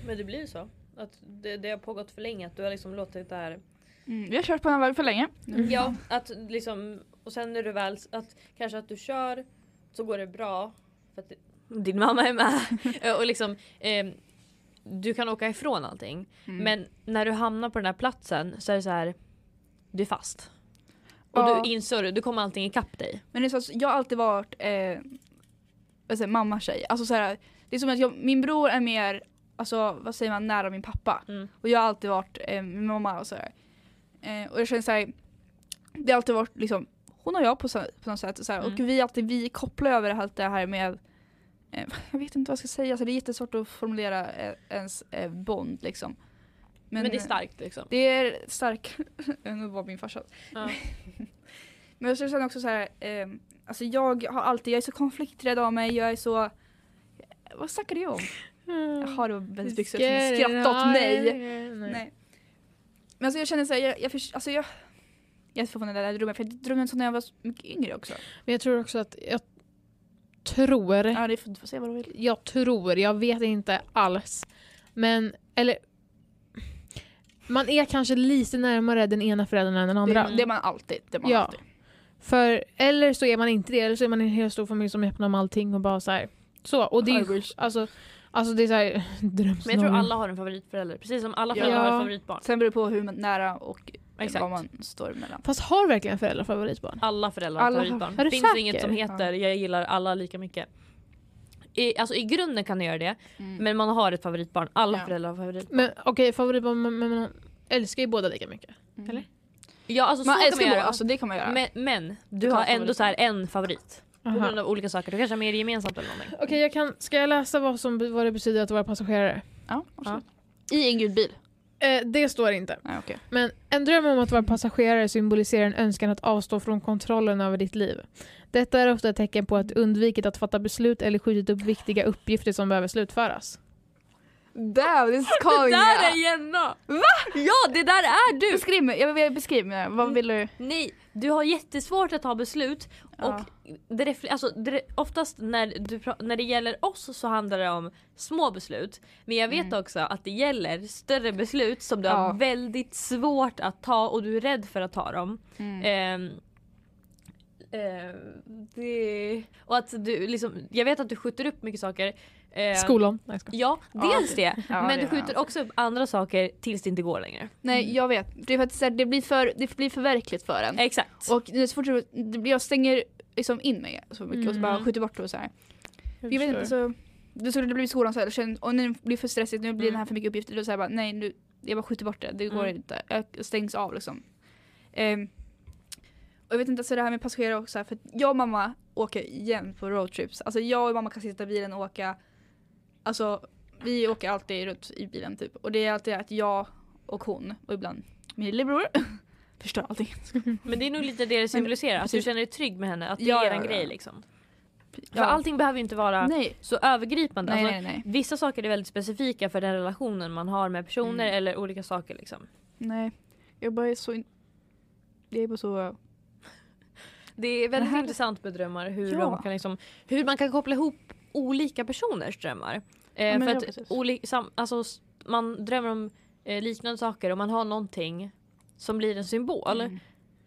S2: Men det blir ju så. Att det, det har pågått för länge. Att du har liksom låtit det här
S3: Mm. Vi har kört på den här vägen för länge. Nu.
S2: Ja, att liksom, och sen när du väl, att kanske att du kör så går det bra för att det- din mamma är med Eh, och liksom eh, du kan åka ifrån allting.
S3: Mm.
S2: Men när du hamnar på den här platsen så är det så här du är fast. Och
S3: Ja.
S2: du inser du kommer allting ikapp dig.
S3: Men det är så att jag har alltid varit eh, vad säger, mamma tjej. Alltså så här, det är som att jag, min bror är mer, alltså vad säger man, nära min pappa.
S2: Mm.
S3: Och jag har alltid varit eh, min mamma och sådär. Eh, och jag känner såhär, det har alltid varit liksom hon och jag på, så- på något sätt. Och, så här, och
S2: Mm.
S3: vi alltid, vi kopplar över allt det här med eh, <laughs> jag vet inte vad jag ska säga, alltså, det är jättesvårt att formulera eh, ens eh, bond liksom. eh,
S2: Men, det är starkt liksom.
S3: Det är stark. <laughs> nu var min farsa.
S2: Ja.
S3: <laughs> Men jag känner också så här, ehm, alltså jag har alltid, jag är så konflikträdd av mig, jag är så vad snackade jag om? Jaha det var
S4: Mm.
S3: Bens byxor som skrattade åt mig.
S4: Nej.
S3: Nej. Men alltså jag känner såhär, jag, jag, förs- alltså jag, jag är så förvånad över den där drömmen för jag drömde en sån när jag var så mycket yngre också.
S4: Men jag tror också att jag tror
S3: Ja det får du får säga vad du vill.
S4: Jag tror, jag vet inte alls. Men, eller... Man är kanske lite närmare den ena föräldern än den
S3: Det,
S4: andra.
S2: Mm.
S3: är- det är man alltid. Det är man
S4: Ja.
S3: alltid.
S4: För, eller så är man inte det, eller så är man en hel stor familj som är öppen om allting och bara så här. Så, och det är
S3: I
S4: ju,
S3: wish.
S4: alltså, alltså det är så här,
S2: Men
S4: <laughs>
S2: jag tror
S4: drömscenario.
S2: alla har en favoritförälder. Precis som alla
S3: Ja.
S2: föräldrar har
S4: Ja.
S2: ett favoritbarn.
S3: Sen beror det på hur man- nära och
S2: Exakt.
S3: vad man står mellan.
S4: Fast har verkligen föräldrar favoritbarn?
S2: Alla föräldrar har
S3: Alla har-
S2: favoritbarn.
S4: Är
S2: Det
S4: du
S2: finns
S4: säker?
S2: inget som heter jag gillar alla lika mycket. I, alltså i grunden kan jag göra det.
S3: Mm.
S2: Men man har ett favoritbarn. Alla
S3: Ja.
S2: föräldrar har favorit.
S4: Men okej, favoritbarn, men, men man älskar ju båda lika mycket.
S3: Mm.
S4: eller?
S2: Ja alltså
S3: Man
S2: så kan man alltså,
S3: älskar båda,
S2: göra.
S3: alltså det kan man göra.
S2: men, men du
S3: kan
S2: har
S3: vara
S2: ändå så här en favorit. På
S4: Aha.
S2: grund av olika saker. Du kanske har mer gemensamt eller någonting.
S4: Okej, jag kan, ska jag läsa vad, som, vad det betyder att vara passagerare?
S3: Ja, absolut. I en gul bil?
S4: Eh, det står inte.
S3: Nej, okej.
S4: Men en dröm om att vara passagerare symboliserar en önskan att avstå från kontrollen över ditt liv. Detta är ofta ett tecken på att du undvikit att fatta beslut eller skjutit upp viktiga uppgifter som behöver slutföras.
S3: Damn, this is calling
S2: Där är Jenna! Va? Ja, det där är du!
S3: Beskriv mig, jag vill beskriva mig. Vad vill du?
S2: Nej, du har jättesvårt att ta beslut.
S3: Ja.
S2: Och det refle- alltså, det, re- oftast när, du pra- när det gäller oss så handlar det om små beslut. Men jag vet
S3: Mm.
S2: också att det gäller större beslut som du
S3: Ja.
S2: har väldigt svårt att ta och du är rädd för att ta dem.
S3: Mm.
S2: Ehm, ehm, det, och att du liksom, jag vet att du skjuter upp mycket saker. Ehm,
S4: Skolan. Nej, jag skojar.
S2: Ja,
S3: Ja,
S2: dels det.
S3: Ja, Mm.
S2: men
S3: det
S2: du
S3: gör jag.
S2: skjuter också upp andra saker tills det inte går längre.
S3: Nej jag vet, det, är för att, så här, det, blir för, det blir för verkligt för en.
S2: Exakt.
S3: Och nu så fort jag- det blir, jag stänger liksom in mig så mycket och så bara
S2: Mm.
S3: skjuter bort det och så här. Jag vet inte, så, det skulle det bli i skolan så här, känn- och nu blir det för stressigt, nu blir det här för mycket uppgifter. Då så här, bara, nej, nu, jag bara skjuter bort det, det går
S2: Mm.
S3: inte. Jag stängs av liksom. Ehm, och jag vet inte, så det här med passagerare också, här, för att jag och mamma åker igen på roadtrips. Alltså jag och mamma kan sitta i bilen och åka, alltså vi åker alltid runt i bilen typ. Och det är alltid att jag och hon, och ibland min
S2: <laughs>
S3: lillebror, förstör allting.
S2: Men det är nog lite det det symboliserar, att du
S3: precis.
S2: känner dig trygg med henne, att det
S3: Ja,
S2: är
S3: ja,
S2: en
S3: ja.
S2: grej liksom. För
S3: Ja.
S2: allting behöver ju inte vara
S3: Nej,
S2: så övergripande.
S3: nej,
S2: alltså,
S3: nej, nej.
S2: Vissa saker är väldigt specifika för den relationen man har med personer
S3: Mm.
S2: eller olika saker liksom.
S3: Nej, jag bara är så... In... Jag är bara så...
S2: Det är väldigt
S3: Det här-
S2: intressant med drömmar hur,
S3: Ja.
S2: de kan liksom, hur man kan koppla ihop olika personers drömmar. Eh,
S3: men
S2: för
S3: ja,
S2: att
S3: precis.
S2: oli- sam- alltså, s- man drömmer om eh, liknande saker och man har någonting som blir en symbol.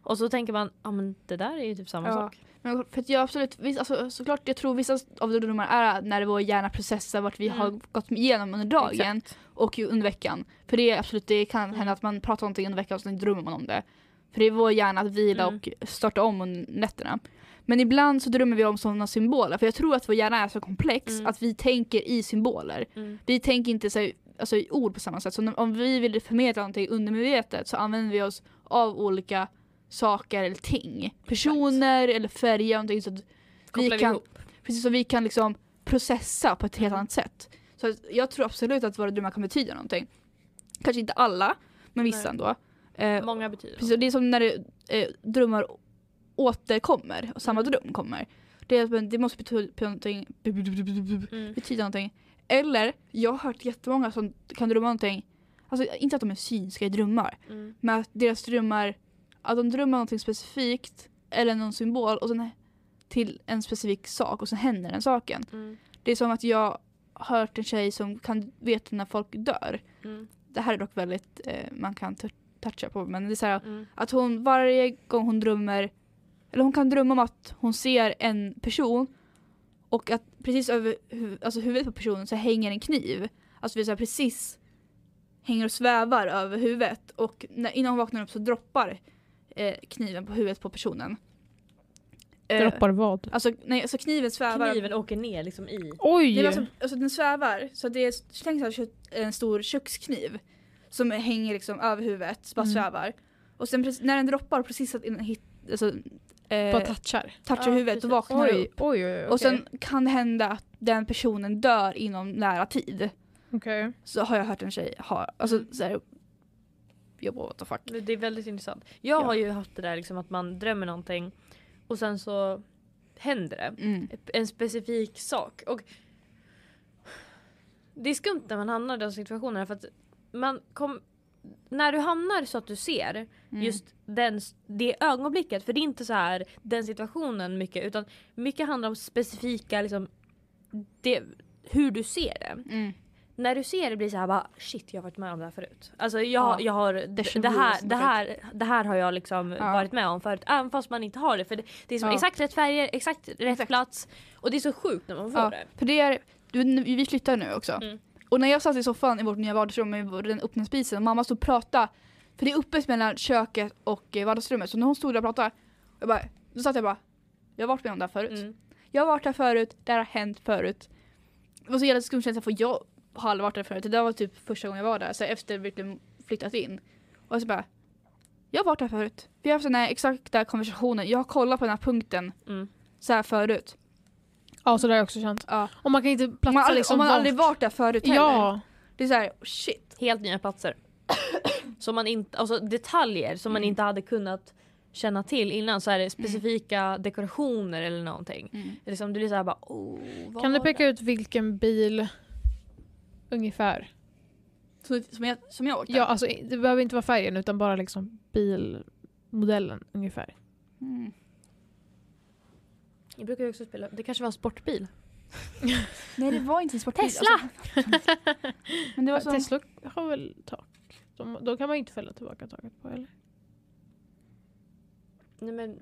S2: Och så tänker man, ja ah, men det där är ju typ samma
S3: Ja.
S2: sak.
S3: Men för att jag absolut, vis- alltså, såklart jag tror vissa av de drömmar är när vår hjärna processar vart vi
S2: Mm.
S3: har gått igenom under dagen och ju under veckan. För det är absolut, det kan hända
S2: Mm.
S3: att man pratar om någonting under veckan och sen drömmer man om det. För det är vår hjärna att vila
S2: Mm.
S3: och starta om under nätterna. Men ibland så drömmer vi om sådana symboler för jag tror att vår hjärna är så komplex
S2: Mm.
S3: att vi tänker i symboler.
S2: Mm.
S3: Vi tänker inte så, här- alltså, i ord på samma sätt. Så när- om vi vill förmedla någonting undermedvetet så använder vi oss av olika saker eller ting. Personer eller färger. Någonting, så att vi
S2: Kopplar vi
S3: kan,
S2: ihop.
S3: Precis, så vi kan liksom processa på ett helt annat sätt. Så att jag tror absolut att våra drömmar kan betyda någonting. Kanske inte alla, men vissa
S2: Nej.
S3: ändå. Eh,
S2: Många betyder
S3: Precis, och det är som när det, eh, drömmar återkommer och samma dröm kommer. Det, är- det måste betyda någonting,
S2: Mm.
S3: betyda någonting. Eller, jag har hört jättemånga som kan drömma någonting, alltså inte att de är synska i drömmar,
S2: Mm.
S3: men att deras drömmar, att de drömmer någonting specifikt eller någon symbol och sen till en specifik sak och sen händer den saken.
S2: Mm.
S3: Det är som att jag har hört en tjej som kan veta när folk dör.
S2: Mm.
S3: Det här är dock väldigt, eh, man kan t- toucha på men det är så här,
S2: Mm.
S3: att hon varje gång hon drömmer, eller hon kan drömma om att hon ser en person och att precis över huv- alltså huvudet på personen så hänger en kniv. Alltså vi så här precis hänger och svävar över huvudet och när, innan hon vaknar upp så droppar eh, kniven på huvudet på personen. Eh,
S4: Droppar vad?
S3: Alltså, nej, alltså kniven svävar.
S2: Kniven åker ner liksom i.
S3: Nej,
S4: Oj!
S3: men alltså, alltså den svävar, så det är tänk så här, kö- en stor kökskniv som hänger liksom över huvudet, bara
S4: Mm.
S3: svävar. Och sen precis, när den droppar precis att innan hit, alltså, eh,
S4: Bara touchar.
S3: touchar
S2: Ja,
S3: huvudet och
S2: precis.
S3: vaknar
S4: Oj, oj,
S3: upp.
S4: oj. oj
S3: Och sen kan det hända att den personen dör inom nära tid.
S4: okej.
S3: Så har jag hört en tjej ha, alltså
S2: Mm.
S3: så här, jag bara what the fuck.
S2: Det är väldigt intressant. Jag
S3: Ja.
S2: har ju haft det där liksom att man drömmer någonting och sen så händer det.
S3: Mm.
S2: En specifik sak. Och det är skumt när man hamnar i den situationen för att man kom, när du hamnar så att du ser
S3: Mm.
S2: just den, det ögonblicket, för det är inte så här den situationen mycket utan mycket handlar om specifika liksom, det, hur du ser det.
S3: Mm.
S2: när du ser det blir så här bara shit jag har varit med om det här förut. Alltså jag,
S3: Ja.
S2: jag har,
S3: Déjà
S2: det,
S3: vu och
S2: här,
S3: sånt
S2: det, här, det här har jag liksom
S3: Ja.
S2: varit med om förut. Även fast man inte har det för det, det är som
S3: Ja.
S2: exakt rätt färger, exakt rätt
S3: Exakt.
S2: plats. Och det är så sjukt när man får
S3: Ja,
S2: det.
S3: för det är, du, vi flyttar nu också.
S2: Mm.
S3: Och när jag satt i soffan i vårt nya vardagsrum med vår- den öppna spisen och mamma stod och pratade, för det är öppet mellan köket och eh, vardagsrummet, så när hon stod där och pratade, jag bara, då satt jag bara, jag har varit med om det här förut.
S2: Mm.
S3: Jag har varit här förut, det här har hänt förut. Det var så jävla skum känsla för jag har aldrig varit där förut, det där var typ första gången jag var där, så efter vi blev flyttat in. Och så bara, jag har varit här förut. Vi har haft den här exakta konversationen, jag har kollat på den här punkten
S2: Mm.
S3: så här förut.
S4: Ja, så det har jag också känt.
S3: Ja.
S4: Och man kan inte platsa
S3: Om man, aldrig,
S4: liksom
S3: om man
S4: vart-
S3: aldrig varit där förut heller.
S4: Ja,
S3: Det är så här, oh, shit.
S2: Helt nya <coughs> platser. som man inte, alltså detaljer som man inte hade kunnat känna till innan. Så här, specifika dekorationer eller någonting.
S3: Mm.
S2: Liksom, det blir såhär bara oh, vad
S4: kan du
S2: var
S4: peka ut vilken bil ungefär?
S3: Så, som, jag, som jag åkte?
S4: Ja, alltså det behöver inte vara färgen utan bara liksom bilmodellen ungefär.
S3: Mm.
S2: det? Jag brukar ju också spela, det kanske var en sportbil.
S3: Nej det var inte en sportbil.
S2: Tesla!
S3: Alltså, men det var som,
S4: Tesla har väl tak? De, då kan man ju inte fälla tillbaka taket på eller?
S2: Nej men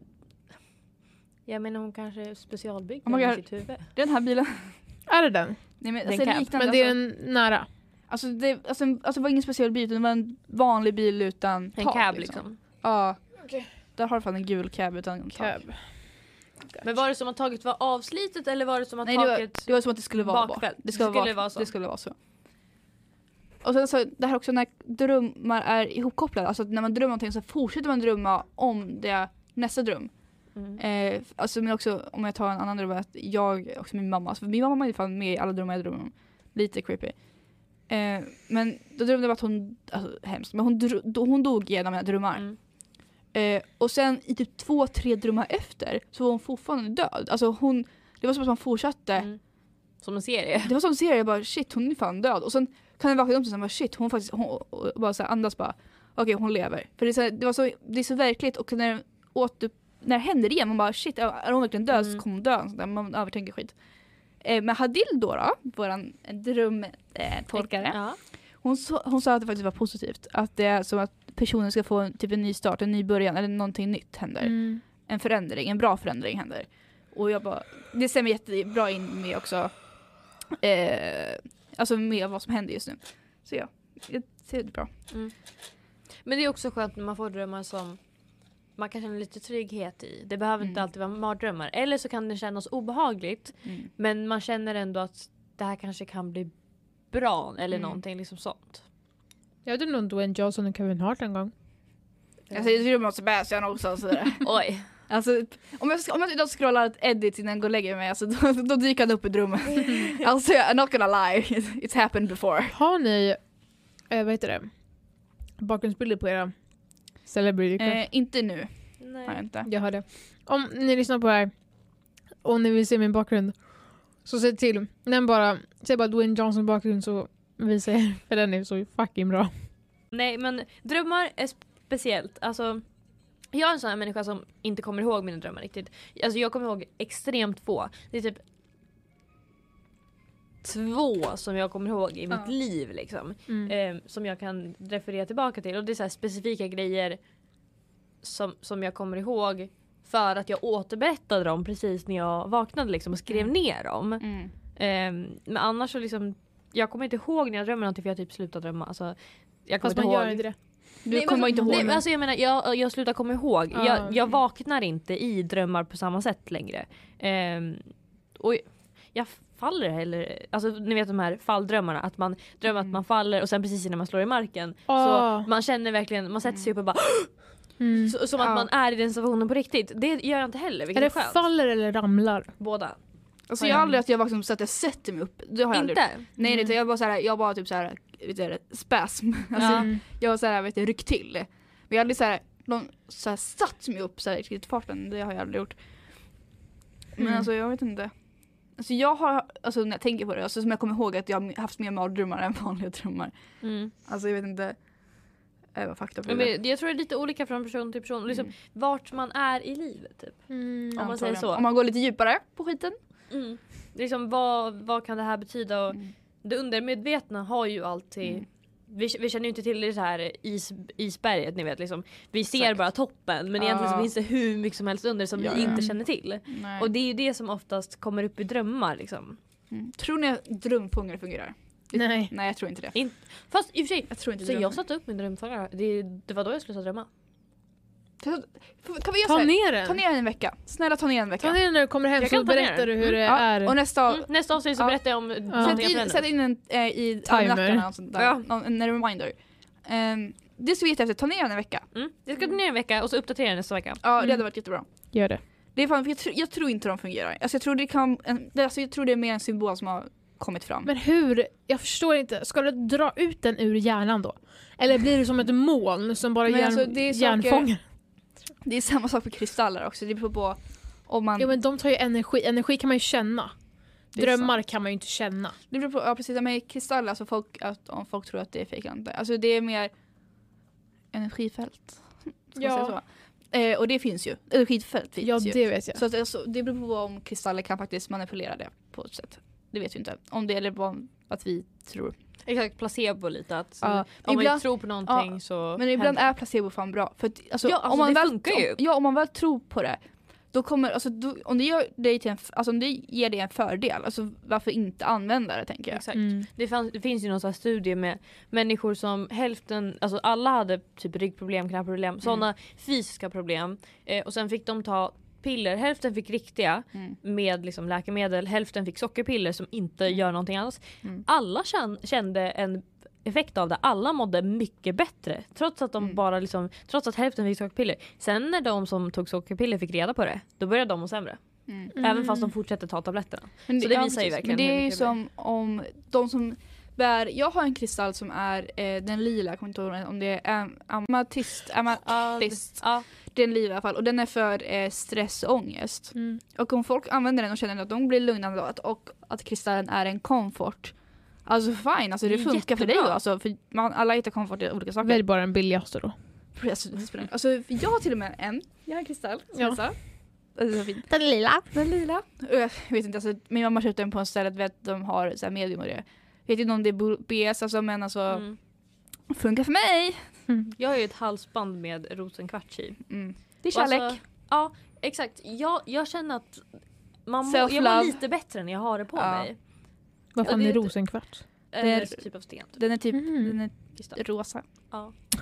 S2: <laughs> jag menar hon kanske är specialbyggd
S3: Oh my
S2: med
S3: God.
S2: sitt huvud.
S3: Den här bilen.
S4: Är det den?
S3: Nej men
S2: Den
S3: alltså,
S2: kan-
S3: liknande.
S4: Men det är en nära.
S3: alltså, alltså, det, alltså, en- alltså det var ingen speciell bil utan det var en vanlig bil utan
S2: En
S3: tak.
S2: cab liksom.
S3: Ja.
S4: Okej.
S3: Där har du fan en gul cab utan tak.
S4: Cab.
S2: Men var det som att taget var avslitet eller var det som att
S3: Nej,
S2: taket...
S3: Det var som att det skulle vara
S2: Bakvänt.
S3: Det skulle, vara,
S2: så.
S3: Det skulle vara så. Och sen så, det här också när drömmar är ihopkopplade, alltså att när man drömmer någonting så fortsätter man drömma om det nästa dröm.
S2: Mm.
S3: Eh, alltså men också om jag tar en annan dröm, att jag och min mamma, alltså min mamma är fan med i alla drömmar jag drömmer om. Lite creepy. Eh, men då drömde jag att hon, alltså hemskt, men hon, dro, då, hon dog i en av mina drömmar.
S2: Mm.
S3: Eh, och sen i typ två, tre drömmar efter så var hon fortfarande död. Alltså hon, det var som att man fortsatte
S2: Mm. Som en
S3: <laughs>
S2: serie.
S3: det var som serie, jag bara shit hon är fan död. Och sen kan jag vakna upp och sen bara shit hon faktiskt, hon, och bara så här, andas bara okej hon lever. För det är, så här, det, var så, det är så verkligt och när, den åter, när det händer igen man bara shit är hon verkligen död
S2: Mm.
S3: så kommer hon dö. och sånt där. Man övertänker skit. Eh, men Hadil då, då våran drömtolkare, eh, tolkare,
S2: Ja.
S3: hon, sa- hon sa att det faktiskt var positivt. Att det är som att personen ska få en, typ en ny start, en ny början eller någonting nytt händer.
S4: Mm.
S3: En förändring, en bra förändring händer. Och jag bara, det stämmer jättebra in med också, eh, alltså med vad som händer just nu. Så ja, jag ser det bra.
S2: Mm. Men det är också skönt när man får drömmar som man kan känna lite trygghet i. Det behöver inte
S3: Mm.
S2: alltid vara mardrömmar. Eller så kan det kännas obehagligt men man känner ändå att det här kanske kan bli bra eller
S3: Mm.
S2: någonting liksom sånt.
S4: Jag hade nog Dwayne Johnson och Kevin Hart en gång.
S3: Alltså jag drömmer om Sebastian också och sådär.
S2: Oj.
S3: <laughs> alltså om jag, om jag idag scrollar ett edit innan jag går och lägger mig, alltså, <laughs> då, då dyker han upp i <laughs> drömmen. alltså I'm not gonna lie, it's happened before.
S4: Har ni, eh, vad heter det, bakgrundsbilder på era celebrity crush?
S3: Eh, inte nu, har jag
S2: Nej.
S3: inte.
S4: Jag har det. Om ni lyssnar på det här och ni vill se min bakgrund så se till, nämn bara, säg bara Dwayne Johnson bakgrund så visar jag er, <laughs> för den är så fucking bra.
S2: Nej men drömmar är speciellt. Alltså, jag är en sån här människa som inte kommer ihåg mina drömmar riktigt. Alltså jag kommer ihåg extremt få. Det är typ två som jag kommer ihåg i mitt
S3: Ja.
S2: liv liksom.
S4: Mm.
S2: eh, som jag kan referera tillbaka till. Och det är så här specifika grejer som, som jag kommer ihåg för att jag återberättade dem precis när jag vaknade liksom, och skrev
S3: Mm.
S2: ner dem.
S3: Mm.
S2: Eh, men annars så liksom, jag kommer inte ihåg när jag drömmer någonting för jag har typ slutat drömma. Alltså, jag kommer
S4: Fast man
S2: inte
S4: gör
S2: ihåg.
S4: inte det.
S3: Du
S2: Nej, men
S3: kommer
S2: så-
S3: inte ihåg.
S2: Nej, men alltså jag menar, jag, jag slutar komma ihåg.
S4: Ah,
S2: jag, jag
S4: okej.
S2: vaknar inte i drömmar på samma sätt längre. Ehm, och jag faller heller, alltså ni vet de här falldrömmarna, att man drömmer
S3: Mm.
S2: att man faller och sen precis innan man slår i marken
S4: Ah.
S2: så man känner verkligen, man sätter sig upp och bara
S4: Mm.
S2: så, som att
S3: Ja.
S2: man är i den situationen på riktigt. Det gör jag inte heller,
S4: Är
S2: vilket är,
S4: det
S2: skönt.
S4: faller eller ramlar?
S2: Båda.
S3: alltså, jag har aldrig att jag vaknar upp så att jag sätter mig upp. Det har jag aldrig.
S2: Inte?
S3: Nej,
S2: Mm.
S3: nej, utan jag bara såhär, jag bara typ såhär, vet du, spasm. <laughs> Alltså,
S4: Mm.
S3: Jag såhär, vet du, ryck till. Men jag har aldrig såhär, någon såhär satt mig upp såhär i riktigt farten, det har jag aldrig gjort. Men
S4: Mm.
S3: alltså jag vet inte. Alltså jag har, alltså när jag tänker på det, alltså som jag kommer ihåg att jag har haft mer mardrömmar än <laughs> vanliga drömmar.
S2: Mm.
S3: Alltså jag vet inte. Äh, Jag var fakta på
S2: Ja,
S3: det.
S2: men Jag tror det är lite olika från person till person, liksom,
S3: Mm.
S2: vart man är i livet. Typ.
S4: Mm.
S2: man säger
S3: Antagligen.
S2: så.
S3: Om man går lite djupare på skiten.
S2: Mm. Liksom, vad, vad kan det här betyda? Och
S3: Mm.
S2: Det undermedvetna har ju alltid...
S3: Mm.
S2: Vi, vi känner ju inte till det så här is, isberget, ni vet. Liksom. Vi ser
S3: Exakt.
S2: bara toppen men egentligen så
S3: Ja.
S2: finns det hur mycket som helst under som
S3: Ja,
S2: vi
S3: ja.
S2: inte känner till. Och det är ju det som oftast kommer upp i drömmar. Liksom.
S3: Mm. Tror ni att drömfångare fungerar?
S4: Nej.
S3: Nej jag tror inte det.
S2: Fast i och för sig,
S3: Jag tror inte
S2: så
S3: dröm-
S2: jag satte upp min drömfångare. Det, det var då jag slutade drömma.
S3: Kan vi göra
S4: Ta
S3: såhär?
S4: ner den.
S3: Ta ner den en vecka. Snälla ta ner den en vecka.
S4: Ta ner den när du kommer hem
S2: Jag
S4: så
S2: kan ta ner
S4: berättar du
S2: den.
S4: hur det
S3: Ja,
S4: är.
S3: Och nästa
S2: Mm. Nästa avsnitt så
S3: Ja.
S2: berättar jag om
S3: Sätt
S2: någonting jag
S3: in, sätt
S2: förändrar.
S3: in en eh, i
S4: Timer.
S3: almanackan och sånt där.
S2: Ja.
S3: Någon- En reminder. Ehm, det skulle vi jättehäftigt, ta ner den en vecka.
S2: Mm. Jag ska ner en vecka och så uppdatera nästa vecka.
S3: Ja det
S4: Mm.
S3: hade varit jättebra.
S4: Gör det.
S3: Det är fan, jag, tror- jag tror inte de fungerar. Alltså jag, tror det kan, en, det- alltså jag tror det är mer en symbol som har kommit fram.
S4: Men hur? Jag förstår inte. Ska du dra ut den ur hjärnan då? Eller blir det som ett moln som bara
S3: Men
S4: hjärn,
S3: alltså, det är saker-
S4: hjärnfångar?
S3: Det är samma sak med kristaller också. Det beror på om man...
S4: Jo men de tar ju energi. Energi kan man ju känna.
S3: Det är
S4: Drömmar kan man ju inte känna.
S3: Det beror på, ja precis, med kristaller, alltså folk, att, om folk tror att det är fejkande. Alltså det är mer energifält. Ska man
S4: Ja.
S3: säga så? Eh, och det finns ju. Energifält finns
S4: Ja
S3: ju.
S4: det typ vet jag.
S3: Så att, alltså, det beror på om kristaller kan faktiskt manipulera det på ett sätt. Det vet vi inte. Om det eller bara om att vi tror.
S2: Exakt, placebo lite. Att,
S3: Ja,
S2: om man
S3: ibland-
S2: tror på någonting
S3: ja,
S2: så
S3: Men ibland
S2: händer
S3: är placebo fan bra. För att, alltså,
S2: Ja, alltså,
S3: om man
S2: det
S3: väl,
S2: funkar ju.
S3: Om, ja, om man väl tror på det. Då kommer, alltså, då, om, det gör dig till en, f- alltså, om det ger dig en fördel, alltså, varför inte använda det tänker jag.
S2: Exakt.
S4: Mm.
S2: Det, fanns, det finns ju någon sån här studie med människor som hälften, alltså alla hade typ ryggproblem,
S3: Mm.
S2: knäproblem, sådana fysiska problem. Eh, och sen fick de ta piller, hälften fick riktiga
S3: Mm.
S2: med liksom läkemedel, hälften fick sockerpiller som inte gör någonting annat.
S3: Mm.
S2: Alla kän, kände en effekt av det, alla mådde mycket bättre. Trots att de
S3: Mm.
S2: bara liksom, trots att hälften fick sockerpiller. Sen när de som tog sockerpiller fick reda på det, då började de må sämre.
S3: Mm.
S2: Även fast de fortsätter ta tabletterna.
S3: Men
S2: Så det visar ju
S3: precis.
S2: verkligen
S3: Men det
S2: hur
S3: är ju
S2: mycket
S3: som om de som bär, jag har en kristall som är eh, den lila, jag kommer inte ihåg om det är am- amatist, amatist.
S2: Ja.
S3: Den lila i alla fall och den är för eh, stress och ångest.
S4: Mm.
S3: Och om folk använder den och känner att de blir lugnande och att, och att kristallen är en komfort. Alltså fine, alltså det
S2: Det är
S3: funkar för dig då.
S2: jättebra.
S3: Alltså, för man, alla hittar komfort i olika saker.
S4: Välj bara den billigaste då.
S3: Alltså, det spelar ingen- alltså, för jag har till och med en, jag har en kristall. som
S4: Ja.
S3: jag sa. Alltså, så fin.
S4: Den lila.
S3: Den lila. Och jag vet inte, alltså, min mamma köpte den på en ställe där de har så här medium och det. Jag vet inte om det är bo- BS alltså, men alltså
S2: Mm.
S3: funkar för mig.
S4: Mm.
S2: Jag har ju ett halsband med rosenkvarts i.
S3: Mm. Det är
S2: Och
S3: kärlek.
S2: alltså- ja, exakt. Jag, jag känner att man må, jag
S3: Self-love.
S2: mår lite bättre när jag har det på
S3: Ja.
S2: mig.
S4: Vad
S2: Ja,
S4: fan
S2: det
S4: är
S2: är-
S4: rosenkvarts?
S2: Eller
S3: är-
S2: typ av sten. Typ.
S3: den är typ
S4: Mm.
S3: den
S2: Kristall.
S3: är rosa.
S4: <laughs>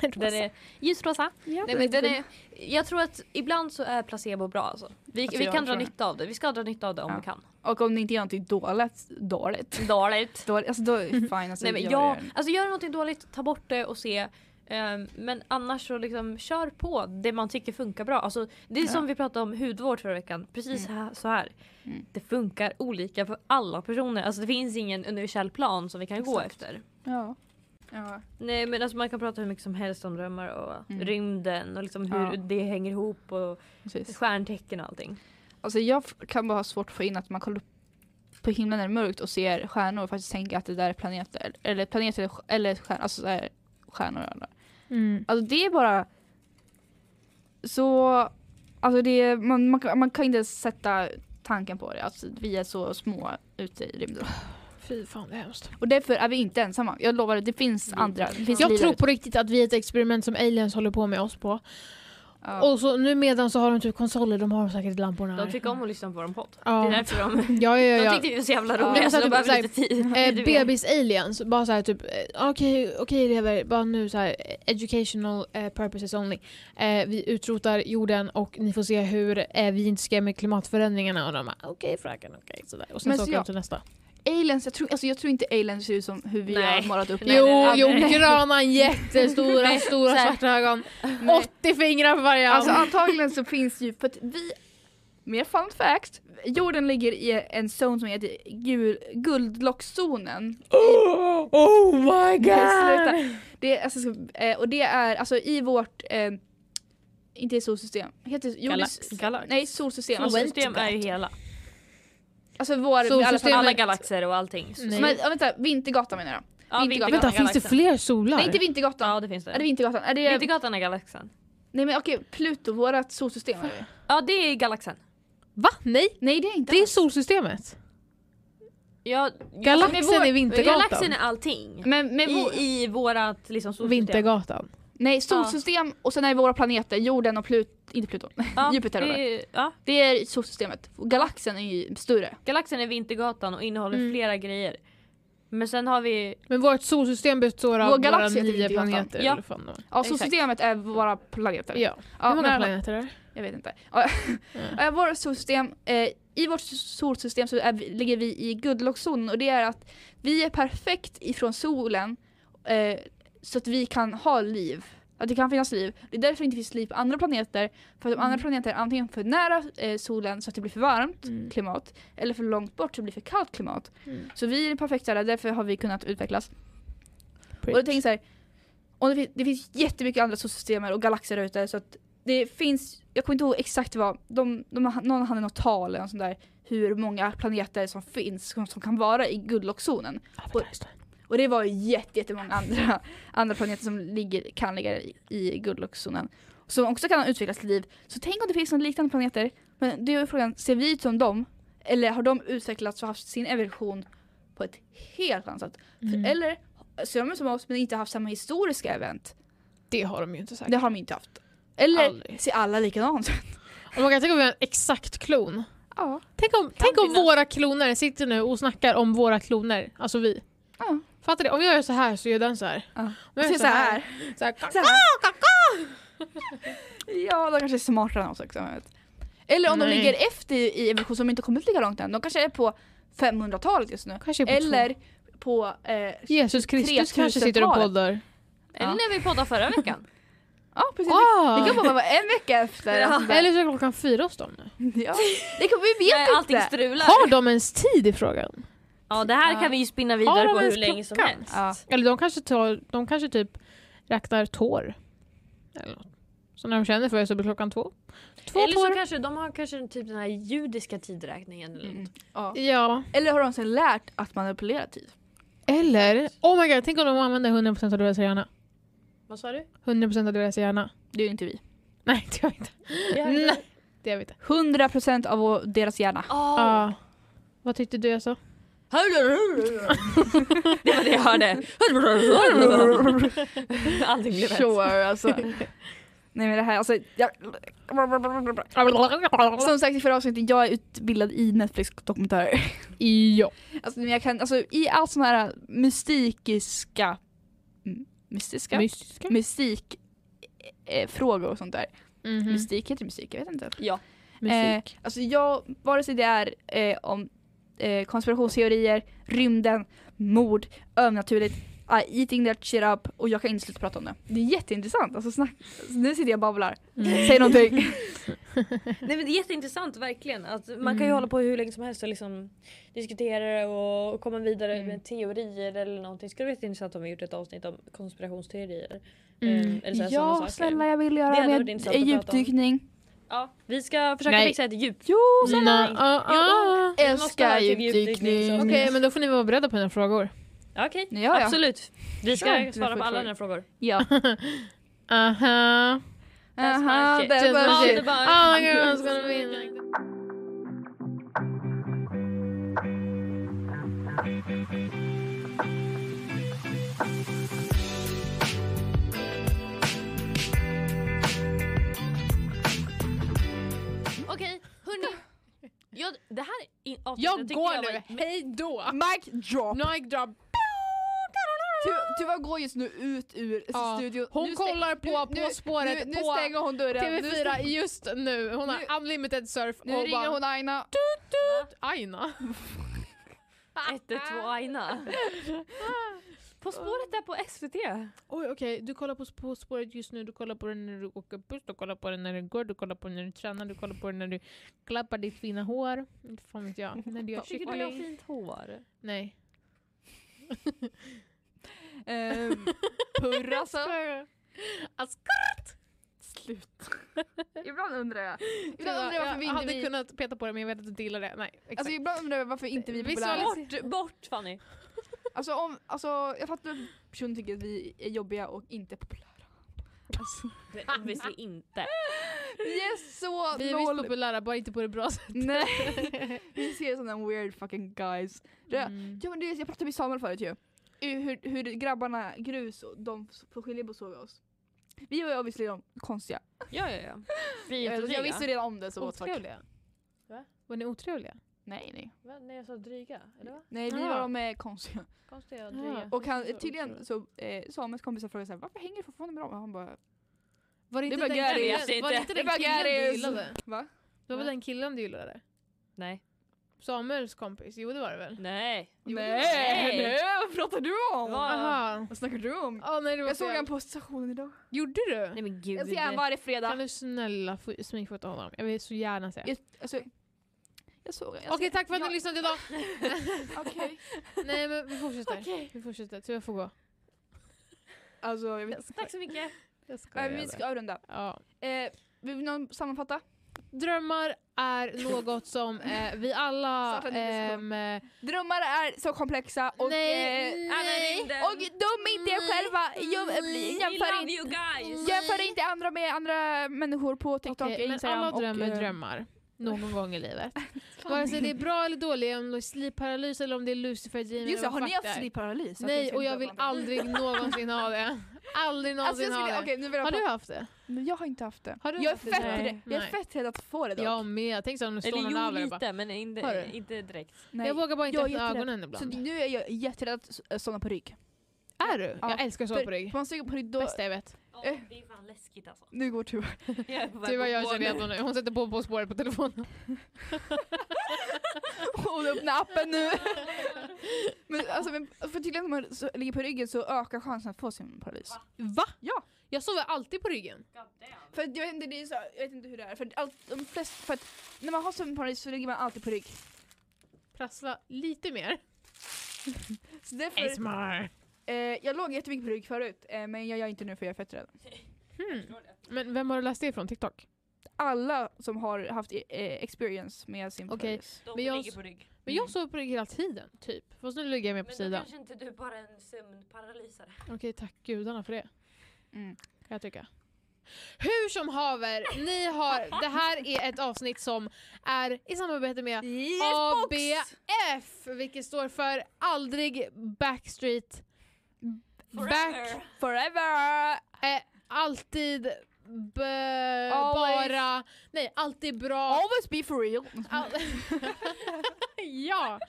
S2: Den är ljusrosa.
S3: Ja,
S2: Nej, men den är, jag tror att ibland så är placebo bra alltså. Vi,
S3: Alltså,
S2: vi
S3: jag
S2: kan dra
S3: tror det.
S2: nytta av det. Vi ska dra nytta av det om
S3: Ja.
S2: vi kan.
S3: Och om det inte gör någonting dåligt, dåligt.
S2: Dåligt.
S3: dåligt alltså då är det fine. Alltså,
S2: Nej, men
S3: gör
S2: jag,
S3: det.
S2: alltså gör någonting dåligt, ta bort det och se. Ehm, men annars så liksom kör på det man tycker funkar bra. Alltså, det är
S3: Ja.
S2: som vi pratade om hudvård förra veckan. Precis här, så här.
S3: Mm.
S2: Det funkar olika för alla personer. Alltså, det finns ingen universell plan som vi kan gå
S3: Exakt.
S2: efter.
S3: Ja. Ja.
S2: Nej men alltså man kan prata hur mycket som helst om drömmar och
S3: Mm.
S2: rymden och liksom hur
S3: Ja.
S2: det hänger ihop och
S3: Precis.
S2: stjärntecken och allting.
S3: Alltså jag f- kan bara ha svårt att få in att man kollar upp på himlen när det är mörkt och ser stjärnor och faktiskt tänker att det där är planeter. Eller planeter eller stj- eller stjärnor. Alltså så här, stjärnor. Eller.
S4: Mm.
S3: Alltså det är bara så, alltså det är, man, man, kan- man kan inte sätta tanken på det. Alltså vi är så små ute i rymden.
S4: Fy fan det är hemskt.
S3: Och därför är vi inte ensamma. Jag lovar, det
S2: Mm.
S3: finns andra. Det finns
S4: Jag
S3: liv
S4: tror
S3: ute.
S4: på riktigt att vi är ett experiment som aliens håller på med oss på.
S3: Ja.
S4: Och så nu medan så har de typ konsoler, de har säkert lamporna här.
S2: De tycker om att lyssna på vår podd.
S4: Ja.
S2: Det är därför de,
S4: Ja, ja,
S2: de
S4: ja.
S2: tyckte vi var så jävla
S3: Ja.
S2: roliga
S4: Men
S2: så
S4: så här
S2: de
S4: typ
S2: behöver
S4: så här,
S2: lite tid.
S4: Eh,
S2: Du vet.
S4: Bebis-aliens, bara såhär typ, eh, okej okej elever, bara nu så här, eh, educational eh, purposes only. Eh, vi utrotar jorden och ni får se hur eh, vi inte ska med klimatförändringarna. Och de bara, okej fröken, okej. sådär. Och sen
S3: Men
S4: så
S3: så
S4: åker de
S3: jag-
S4: till nästa.
S3: Aliens, jag tror, alltså jag tror inte aliens ser ut som hur vi
S2: Nej.
S3: har målat upp
S2: Nej,
S4: jo,
S2: nej, nej,
S4: jo,
S2: nej. <laughs>
S4: gröna jättestora, stora
S2: så här.
S4: svarta ögon.
S3: Nej.
S4: 80 fingrar på varje
S3: Alltså
S4: arm.
S3: antagligen så finns ju, för att vi, mer fun fact, jorden ligger i en zon som heter gul, guldlockszonen.
S4: oh, oh my
S3: Sluta. Det, är, alltså, så- eh, och det är alltså i vårt, eh, inte i solsystem, heter jo, det-
S2: Galax. Galax.
S3: Nej solsystem. Alltså,
S2: Solsystem
S4: typ
S2: är ju hela.
S3: alltså vår,
S4: Solsystem-
S3: alla,
S2: Alla galaxer och allting.
S4: Nej.
S3: Men, ja, vänta, Vintergatan menar jag.
S2: Ja,
S3: Vintergatan.
S4: Vänta, finns det
S2: galaxen.
S4: fler solar?
S3: Nej inte Vintergatan.
S2: Ja det finns
S3: Är det
S2: det.
S3: Vintergatan? Är det,
S2: Vintergatan är galaxen.
S3: nej men okej, Pluto, vårat solsystem är det.
S2: Ja det är galaxen.
S4: Va? Nej,
S3: Nej det är inte
S4: det är
S3: alls.
S4: solsystemet.
S2: Ja,
S4: Galaxen
S3: men vår-
S4: är Vintergatan.
S2: galaxen är allting.
S3: Men med vår,
S2: I, i vårat liksom solsystem.
S4: Vintergatan.
S3: nej solsystem och sen är det våra planeter, jorden och Pluto, inte Pluto,
S2: Ja,
S3: Jupiter eller?
S2: det är- ja,
S3: Det är solsystemet. Galaxen är ju större.
S2: galaxen är Vintergatan och innehåller
S4: Mm.
S2: flera grejer. Men sen har vi
S4: Men vårt solsystem består av
S3: Vår
S4: våra
S3: galax heter
S4: nio
S3: Vintergatan.
S4: planeter.
S2: Ja.
S4: eller fan de är.
S3: Ja
S2: Exakt.
S3: solsystemet är våra planeter.
S4: ja.
S3: Ja,
S4: Hur många
S3: men-
S4: planeter är det?
S3: Jag vet inte. Ja.
S4: Mm.
S3: Ja, Vårt solsystem, eh, I vårt solsystem så är, vi- ligger vi i guldlockszonen och det är att vi är perfekt ifrån solen eh, så att vi kan ha liv. Att det kan finnas liv. Det är därför det inte finns liv på andra planeter. För att de andra planeter är antingen för nära eh, solen så att det blir för varmt
S4: Mm.
S3: klimat. Eller för långt bort så det blir för kallt klimat.
S4: Mm.
S3: Så vi är det perfekta där, därför har vi kunnat utvecklas.
S4: Preach.
S3: Och jag tänker så här, och det, finns, det finns jättemycket andra solsystem och galaxer där ute så att det finns, jag kommer inte ihåg exakt vad, de, de, har- någon hade något tal eller något sånt där hur många planeter som finns som, som kan vara i guldlockzonen.
S4: Albert Einstein.
S3: Och det var ju jätte, jättemånga andra, <laughs> andra planeter som ligger, kan ligga i, i guldlockzonen. Som också kan utvecklas till liv. Så tänk om det finns några liknande planeter. Men det är ju frågan, ser vi ut som dem? Eller har de utvecklats och haft sin evolution på ett helt annat sätt?
S4: Mm.
S3: För, eller ser de ut som oss men inte haft samma historiska event?
S4: Det har de ju inte sagt.
S3: Det har de inte haft. Eller
S4: Aldrig.
S3: ser alla likadant <laughs> ut?
S4: Och man kan tänka om vi har en exakt klon.
S3: Ja.
S4: Tänk om, tänk om
S3: finnas.
S4: våra kloner sitter nu och snackar om våra kloner. Alltså vi.
S3: Ja.
S4: Fattar du? Om jag gör så här så gör den så här.
S3: Ja.
S4: Om jag
S3: Och
S4: gör
S3: ser så här.
S4: Så här,
S3: Så här. Ja, de kanske är smartare än oss också. jag vet. Eller om de
S4: Nej.
S3: ligger efter i evolution som inte kommit lika långt än. De kanske är på 500-talet just nu.
S4: Kanske är på två.
S3: Eller på... Eh,
S4: Jesus Kristus kanske sitter och
S3: 3000-talet.
S4: poddar.
S2: Eller när vi poddade <laughs> förra veckan.
S3: ja, precis. Det
S4: Ah.
S3: kan bara vara en vecka efter.
S2: Ja.
S3: Alltså,
S4: Eller så är klockan fyra hos dem nu.
S3: ja. det kan, vi vet
S2: När allting
S3: inte.
S2: strular.
S4: Har de ens tid i frågan?
S2: Ja det här
S3: Ja.
S2: kan vi ju spinna
S4: Har
S2: vidare
S4: de
S2: på hur
S4: ens
S2: länge som
S4: klockan?
S2: helst.
S3: Ja.
S4: Eller de kanske, tar, de kanske typ räknar tår. Eller något. Så när de känner för det så blir klockan två. Två
S2: Eller så
S4: tår.
S2: kanske de har kanske typ den här judiska tidräkningen. eller
S3: Mm.
S2: något.
S3: Ja.
S4: Ja.
S3: Eller har de sen lärt att manipulera typ? tid?
S4: Eller, oh my god, tänk om de använder 100% av deras hjärna.
S2: Vad <gasps> sa du?
S4: 100% av deras hjärna. <laughs>
S3: Det är ju inte vi.
S4: Nej, det gör vi inte. Nej, det gör vi inte.
S3: 100% av vår-
S4: <laughs>
S3: deras hjärna. <laughs>
S2: Oh.
S4: Ja. Vad tyckte du jag sa?
S2: <laughs> det var det jag <laughs> hörde. Allting blev ett.
S3: Sure, alltså. <laughs> Nej men det här, alltså. Jag... Som sagt i förra avsnittet, jag är utbildad i Netflix-dokumentärer.
S4: Ja.
S3: Alltså, men jag kan, alltså, I allt sådana här mystikiska... m- Mystiska?
S4: Mystiska.
S3: mystik eh, frågor och sånt där.
S4: Mhm.
S3: Mystik heter det mystik, jag vet inte.
S2: Ja.
S3: Eh,
S4: Mystik.
S3: alltså jag, vare sig det är eh, om eh, konspirationsteorier, rymden, mord, övernaturligt, I eating that shit up och jag kan inte sluta prata om det. Det är jätteintressant. Alltså, snack, alltså, nu sitter jag och babblar.
S4: Mm.
S3: <laughs>
S2: <laughs>
S3: Säg någonting.
S2: Nej, men det är jätteintressant verkligen. Att man kan ju
S4: Mm.
S2: hålla på hur länge som helst och liksom diskutera det och komma vidare
S3: Mm.
S2: med teorier eller någonting. Skulle det vara intressant om vi gjort ett avsnitt om konspirationsteorier.
S4: Mm.
S2: Eh, Eller så här, sådana
S3: ja
S2: saker.
S3: snälla jag vill
S2: Det
S3: göra
S2: hade
S3: mer
S2: varit intressant att prata om.
S3: djupdykning.
S2: Ja, vi ska försöka
S4: Nej.
S2: fixa ett djup.
S3: Jo,
S4: Nå, ah, ah.
S2: Vi måste ha
S3: älskar
S2: ett djupdykning, så-
S3: djupdykning.
S4: Okej, men då får ni vara beredda på mina frågor.
S2: Ja, Okej,
S3: Ja, ja.
S2: absolut. Vi ska
S3: Sure.
S2: svara
S3: Du
S2: på
S3: får
S2: alla
S3: fråga.
S2: dina frågor.
S3: Ja.
S4: Aha.
S2: That's my
S3: Aha,
S2: shit.
S3: that's my
S4: That's my
S3: shit.
S4: shit. Ah, girls gonna be like that.
S2: Okej, hörni. Jag, det här i- avsnittet
S4: Jag
S2: tyckte
S4: går
S2: var-
S4: nu, hej då!
S3: Mic drop.
S4: Nike drop.
S3: Tu- Tuva går just nu ut ur
S4: Ja,
S3: studion.
S4: Hon
S3: nu stäng-
S4: kollar på
S3: nu-
S4: På spåret
S3: nu, nu
S4: på
S3: stänger hon dörren. nu,
S4: TV4 just nu. Hon har
S3: Nu-
S4: unlimited surf
S3: nu
S4: och bara...
S3: ringer hon Aina.
S4: Aina.
S2: 112 Aina. På spåret där på SVT.
S4: Oj okej, du kollar på På spåret just nu, du kollar på den när du åker buss, du kollar på den när du går, du kollar på den när du tränar, du kollar på den när du klappar ditt fina hår. Inte <laughs> fan vet jag. När du gör
S2: Tycker du jag har
S4: kyckling.
S2: fint hår?
S4: Nej.
S3: <laughs> Ehm, Purra
S4: Alltså,
S3: så.
S4: Askar.
S3: Slut. ibland undrar jag. Ibland undrar jag varför
S4: Jag
S3: vi
S4: hade
S3: inte vi...
S4: kunnat peta på det men jag vet att du inte gillar det. Nej, exakt.
S3: Alltså ibland undrar jag varför inte vi är
S4: Visualis-
S3: populära.
S2: Bort, bort Fanny.
S3: Alltså, om, alltså jag fattar att personer tycker att vi är jobbiga och inte populära. Alltså,
S2: Nej, Obviously inte.
S3: vi är så
S4: vi är Mm.
S3: noll...
S4: visst populära, bara inte på det bra sättet. <laughs>
S3: Nej. vi ser sådana weird fucking guys. Det-
S4: Mm.
S3: Ja, men det, jag pratade med Samuel förut ju. I Hur, hur grabbarna grus och de på Skiljebo såg oss. Vi var ju obviously de konstiga.
S2: Ja, ja, ja. Vi är
S3: Jag,
S2: inte
S3: jag visste redan om det så what the fuck.
S4: Otrevliga?
S2: Va?
S4: Var ni otrevliga?
S3: Nej nej.
S2: Nej, jag sa dryga. Eller vad?
S3: Nej vi
S4: Ja.
S3: var de eh, konstiga.
S2: Konstiga
S4: dryga.
S2: dryga.
S3: Och han,
S4: Otrevliga.
S3: tydligen så eh, Samuels kompisar frågade såhär varför hänger du fortfarande med dem? Och han bara
S4: Var det
S3: Det
S4: inte
S3: var
S4: den
S3: Gary.
S4: killen-
S2: Jag vet
S4: var det
S2: inte.
S4: inte
S3: Det
S4: den
S3: var
S4: killen
S3: Gary.
S4: du gillade?
S3: va?
S4: Det var
S2: Va?
S4: den killen du gillade?
S2: Nej.
S4: Samuels kompis, jo det var det väl?
S2: Nej.
S3: Nej, nej, vad pratar du om?
S2: Vad? Ja.
S4: Aha.
S3: Vad snackar du om?
S4: Ja, nej, det var
S3: Jag såg
S4: fel.
S3: han på stationen idag.
S4: Gjorde du?
S2: Nej men gud.
S3: Jag ser han varje
S4: Kan
S3: fredag.
S4: du snälla få- smygfota honom? Jag vill så gärna se.
S3: Jag, alltså, jag såg jag
S4: Okej,
S3: ser-
S4: tack för att
S3: jag-
S4: ni lyssnade <laughs> idag! <laughs>
S3: Okej.
S4: Nej men vi fortsätter. Vi fortsätter, så jag får gå.
S3: Alltså, jag vet
S2: Tack så mycket.
S4: Jag skojar
S3: äh, Vi ska avrunda.
S4: ja.
S3: Eh, vill någon sammanfatta?
S4: Drömmar är något som eh, vi alla... <laughs>
S3: Starta en
S4: ehm,
S3: diskussion.
S4: eh,
S3: Drömmar är så komplexa och...
S4: Nej, Mm.
S3: eh,
S4: nej.
S3: Och döm inte er själva! Jäm-
S4: Nej.
S2: We
S3: Jämför
S2: love
S3: inte,
S2: you guys.
S3: jämför inte andra med andra människor på TikTok,
S4: okej, men
S3: Instagram
S4: alla drömmer
S3: och... eh,
S4: drömmar. Någon gång i <laughs> livet. Vare sig det är bra eller dåligt, om det är sleepparalys eller om det är lucifergin.
S3: Just det,
S4: eller
S3: har
S4: vad
S3: ni
S4: fuck det
S3: haft
S4: är.
S3: sleepparalys? Att ni
S4: Nej,
S3: ska
S4: och jag
S3: döma
S4: vill
S3: andra. <laughs>
S4: aldrig någonsin ha det. Aldrig
S3: Alltså
S4: någonsin
S3: jag skulle,
S4: ha det.
S3: okej, nu vill jag
S4: Har
S3: prata-
S4: du haft det?
S3: Men jag har inte haft det.
S4: Har du
S3: jag är
S4: haft det?
S3: fett
S4: Nej.
S3: rädd. Jag är
S4: Nej.
S3: fett rädd att få det dock.
S4: Jag med. Tänk så om det står någon
S2: Eller
S4: över
S2: jo
S4: och bara,
S2: lite men
S4: Har
S2: inte,
S4: du?
S2: inte direkt.
S3: Nej.
S4: Jag vågar bara inte
S3: Jag är
S4: öppna
S3: jätterädd.
S4: ögonen
S3: så
S4: ibland.
S3: nu är jag jätterädd att s- äh, somna på rygg.
S4: Är du?
S3: Ja.
S4: Jag älskar att sova på rygg.
S3: För man stiger på rygg då...
S4: Bästa jag vet.
S2: Ja, det är fan läskigt alltså.
S3: Nu går tur. <laughs>
S2: Jag är på väg
S4: Du och
S2: att
S4: jag
S2: gå
S4: känner
S2: nu. <laughs>
S4: igen hon, hon sätter på På spåret på telefonen.
S3: Hon öppnar
S2: <laughs>
S3: appen nu. men alltså, men, för tydligen om man så, ligger på ryggen så ökar chansen att få sömnparalys.
S4: Va?
S3: Ja.
S4: Jag sover alltid på ryggen.
S3: För att jag vet inte, det är så, jag vet inte hur det är. För att, allt, de flest, för att när man har sömnparalys så ligger man alltid på rygg.
S4: Prassla lite mer.
S3: Så därför, eh, jag låg jättemycket på rygg förut eh, men jag gör inte nu för jag är fett rädd.
S4: Hmm. Men vem har du läst det ifrån? TikTok?
S3: Alla som har haft eh, experience med sin
S4: Okej.
S3: paralys.
S2: De
S4: Men jag-
S2: ligger på rygg.
S4: Men jag sover på rygg hela tiden, typ. Fast nu ligger jag mer på
S2: Men då
S4: sidan.
S2: kanske inte du bara är en sömnparalysare.
S4: Okej, tack gudarna för det.
S3: Mm.
S4: Kan jag tycka. Hur som haver, ni har, det här är ett avsnitt som är i samarbete med ABF, vilket står för aldrig Backstreet Back,
S2: Forever.
S3: Forever!
S4: eh, alltid b-
S3: Always.
S4: bara, nej alltid bra.
S3: Always be for real!
S4: All- <laughs> ja,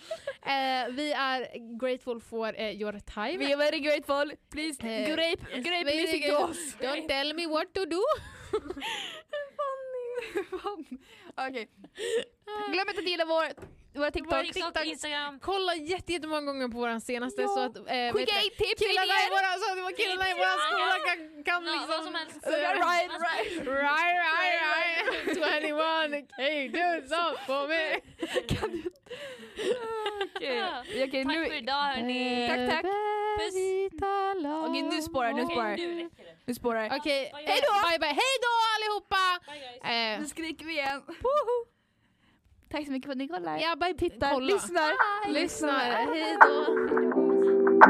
S4: eh, vi är grateful for eh, your time.
S3: We are very grateful! Please,
S4: Eh,
S3: <laughs> grape, grape
S4: very
S3: music to
S4: grateful.
S3: us!
S4: Don't tell me what to do.
S3: Fan. Okej. <laughs> Glöm inte att gilla vår, våra
S2: På
S3: TikTok.
S2: TikTok, Instagram.
S4: Kolla jätte- jättemånga gånger på våran senaste
S3: Ja.
S4: så att eh, vet
S3: Skicka
S4: du,
S3: in tips till
S4: killarna, i
S3: er!
S4: våran, så att killarna i våran skola kan, kan
S2: Ja, vad som
S4: liksom...
S2: helst.
S3: Right, right, <laughs> right.
S4: Right, right, <laughs> right. 21, hey dude, så på mig.
S2: Ja.
S3: Okej, okay,
S2: Tack för
S3: nu,
S2: idag hörni.
S4: Eh,
S3: Tack, tack.
S2: Puss.
S3: Okej, nu spårar, nu spårar.
S2: Okej, nu räcker det.
S3: nu spårar jag.
S4: Okej,
S2: Bye,
S4: hej då! Bye, bye. Hej då allihopa!
S2: Bye guys.
S4: Eh,
S3: Nu skriker vi igen. Tack så mycket för att ni kollar.
S4: ja, bye,
S3: Tittar,
S4: kolla.
S3: lyssnar.
S4: Lyssnar. Hej då.